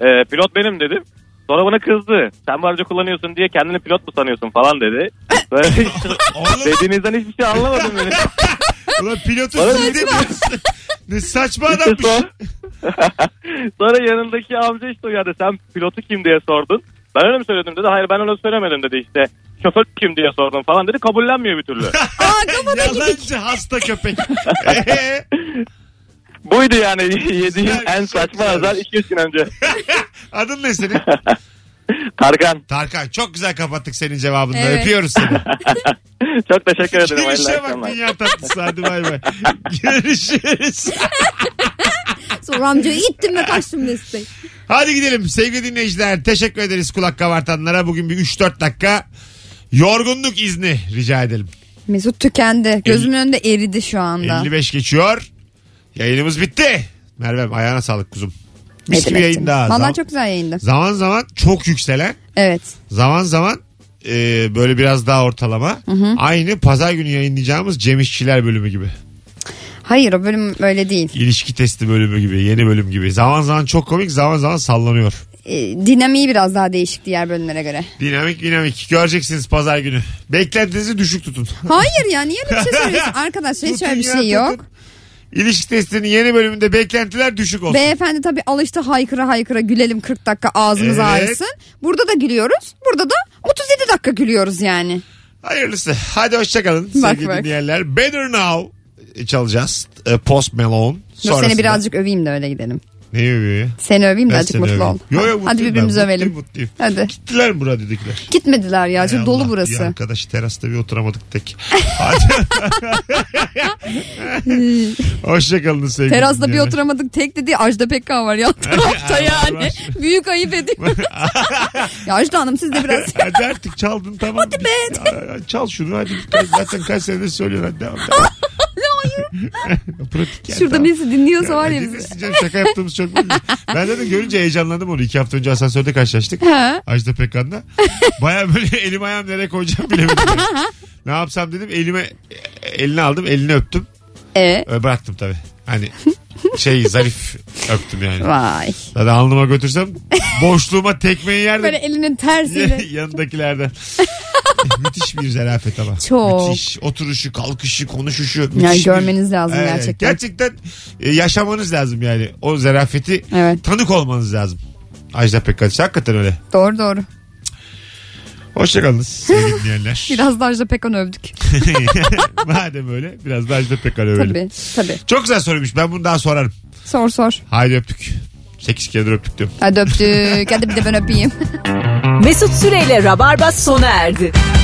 [SPEAKER 5] E, pilot benim dedim. Sonra bana kızdı. Sen bu aracı kullanıyorsun diye kendini pilot mu sanıyorsun falan dedi. Böyle
[SPEAKER 2] Oğlum
[SPEAKER 5] dediğinizden hiçbir şey anlamadım. Beni.
[SPEAKER 2] ulan
[SPEAKER 5] Bana
[SPEAKER 2] pilotu sildi mi? ne saçma adammış.
[SPEAKER 5] sonra, sonra yanındaki amca işte uyardı. Sen pilotu kim diye sordun. Ben öyle mi söyledim dedi. Hayır ben öyle söylemedim dedi işte. Şoför kim diye sordum falan dedi. Kabullenmiyor bir türlü.
[SPEAKER 2] Yalancı hasta köpek. Ee,
[SPEAKER 5] Buydu yani yediğim
[SPEAKER 2] Güzel,
[SPEAKER 5] en
[SPEAKER 2] güzel,
[SPEAKER 5] saçma
[SPEAKER 2] güzel.
[SPEAKER 5] azar 200 gün önce.
[SPEAKER 2] Adın ne senin?
[SPEAKER 5] Tarkan
[SPEAKER 2] Tarkan çok güzel kapattık senin cevabını.
[SPEAKER 3] Evet.
[SPEAKER 2] Öpüyoruz seni.
[SPEAKER 5] çok teşekkür ederim.
[SPEAKER 2] Girişe
[SPEAKER 5] hayırlı
[SPEAKER 2] bak
[SPEAKER 5] akşamlar.
[SPEAKER 2] dünya tatlısı hadi bay bay. Görüşürüz.
[SPEAKER 15] Sonra amcayı ittim ve kaçtım Mesut Bey.
[SPEAKER 2] Hadi gidelim sevgili dinleyiciler. Teşekkür ederiz kulak kabartanlara. Bugün bir 3-4 dakika yorgunluk izni rica edelim.
[SPEAKER 3] Mesut tükendi. Gözümün önünde eridi şu anda.
[SPEAKER 2] 55 geçiyor. Yayınımız bitti. Merve'm ayağına sağlık kuzum. Mis gibi yayın daha.
[SPEAKER 3] Valla
[SPEAKER 2] Zaman,
[SPEAKER 3] çok güzel yayındı.
[SPEAKER 2] zaman zaman çok yükselen.
[SPEAKER 3] Evet.
[SPEAKER 2] Zaman zaman e, böyle biraz daha ortalama. Aynı pazar günü yayınlayacağımız Cem İşçiler bölümü gibi.
[SPEAKER 3] Hayır o bölüm öyle değil.
[SPEAKER 2] İlişki testi bölümü gibi. Yeni bölüm gibi. Zaman zaman çok komik zaman zaman sallanıyor.
[SPEAKER 3] Ee, dinamiği biraz daha değişik diğer bölümlere göre.
[SPEAKER 2] Dinamik dinamik. Göreceksiniz pazar günü. Beklentinizi düşük tutun.
[SPEAKER 3] Hayır ya niye böyle bir şey söylüyorsun? Arkadaşlar hiç
[SPEAKER 2] Tutun
[SPEAKER 3] öyle bir
[SPEAKER 2] ya,
[SPEAKER 3] şey yok.
[SPEAKER 2] tutun. İlişki testinin yeni bölümünde beklentiler düşük olsun.
[SPEAKER 3] Beyefendi tabii alıştı haykıra haykıra gülelim 40 dakika ağzımız
[SPEAKER 2] Evet.
[SPEAKER 3] ağrısın. Burada da gülüyoruz. Burada da 37 dakika gülüyoruz yani.
[SPEAKER 2] Hayırlısı. Hadi hoşçakalın
[SPEAKER 3] Bak,
[SPEAKER 2] sevgili
[SPEAKER 3] bak.
[SPEAKER 2] dinleyenler. Better Now çalacağız. E, Post Malone.
[SPEAKER 3] Dur
[SPEAKER 2] Sonrasında-
[SPEAKER 3] seni birazcık öveyim de öyle gidelim.
[SPEAKER 2] Ne övüyor ya?
[SPEAKER 3] Seni öveyim de
[SPEAKER 2] Ben
[SPEAKER 3] azıcık
[SPEAKER 2] seni
[SPEAKER 3] mutlu
[SPEAKER 2] öveyim.
[SPEAKER 3] ol.
[SPEAKER 2] Yo, yo,
[SPEAKER 3] Hadi
[SPEAKER 2] mutluyum
[SPEAKER 3] birbirimizi
[SPEAKER 2] ben.
[SPEAKER 3] övelim.
[SPEAKER 2] Mutluyum, mutluyum.
[SPEAKER 3] Hadi.
[SPEAKER 2] Gittiler mi radyodakiler?
[SPEAKER 3] Gitmediler ya.
[SPEAKER 2] Hay
[SPEAKER 3] Çok dolu
[SPEAKER 2] Allah, Bir
[SPEAKER 3] burası.
[SPEAKER 2] arkadaş terasta bir oturamadık tek. Hadi. Hoşçakalın sevgili
[SPEAKER 3] Terasta bir
[SPEAKER 2] dinleyenler.
[SPEAKER 3] oturamadık tek dediği Ajda Pekkan var yan tarafta yani. Büyük ayıp ediyor. ya Ajda Hanım siz de biraz
[SPEAKER 2] Hadi artık çaldın tamam. Hadi be. Çal şunu hadi. Zaten kaç senedir söylüyorsun hadi devam. Hayır. Pratik yani,
[SPEAKER 3] şurada
[SPEAKER 2] tamam.
[SPEAKER 3] birisi dinliyorsa var ya
[SPEAKER 2] Ne
[SPEAKER 3] bizi.
[SPEAKER 2] diyorsun canım? şaka yaptığımız çok belli. Ben zaten görünce heyecanlandım onu. İki hafta önce asansörde karşılaştık.
[SPEAKER 3] He.
[SPEAKER 2] Ajda Pekkan'la. Baya böyle elim ayağım nereye koyacağım bilemedim. ne yapsam dedim elime elini aldım elini öptüm.
[SPEAKER 3] E?
[SPEAKER 2] Ö, Bıraktım tabii. Hani şey zarif öptüm yani.
[SPEAKER 3] Vay.
[SPEAKER 2] Zaten alnıma götürsem boşluğuma
[SPEAKER 3] Böyle
[SPEAKER 2] tekmeyi yerdim.
[SPEAKER 3] elinin tersiyle.
[SPEAKER 2] Yanındakilerden. Müthiş bir zarafet ama.
[SPEAKER 3] Çok.
[SPEAKER 2] Müthiş. Oturuşu, kalkışı, konuşuşu.
[SPEAKER 3] Yani
[SPEAKER 2] müthiş bir-
[SPEAKER 3] görmeniz lazım
[SPEAKER 2] Evet,
[SPEAKER 3] gerçekten.
[SPEAKER 2] Gerçekten e, yaşamanız lazım yani. O zarafeti
[SPEAKER 3] Evet.
[SPEAKER 2] tanık olmanız lazım. Ajda Pekkan. Hakikaten öyle.
[SPEAKER 3] Doğru doğru.
[SPEAKER 2] Hoşçakalınız sevgili dinleyenler.
[SPEAKER 3] Biraz da Ajda Pekkan övdük.
[SPEAKER 2] Madem öyle biraz da Ajda Pekkan öyle.
[SPEAKER 3] Tabii tabii.
[SPEAKER 2] Çok güzel soruymuş. Ben bunu daha sorarım.
[SPEAKER 3] Sor sor.
[SPEAKER 2] Haydi öptük. 8 keredir öptük diyorum.
[SPEAKER 3] Hadi öptük. Hadi bir de ben öpeyim.
[SPEAKER 1] Mesut Süreyle Rabarba sona erdi.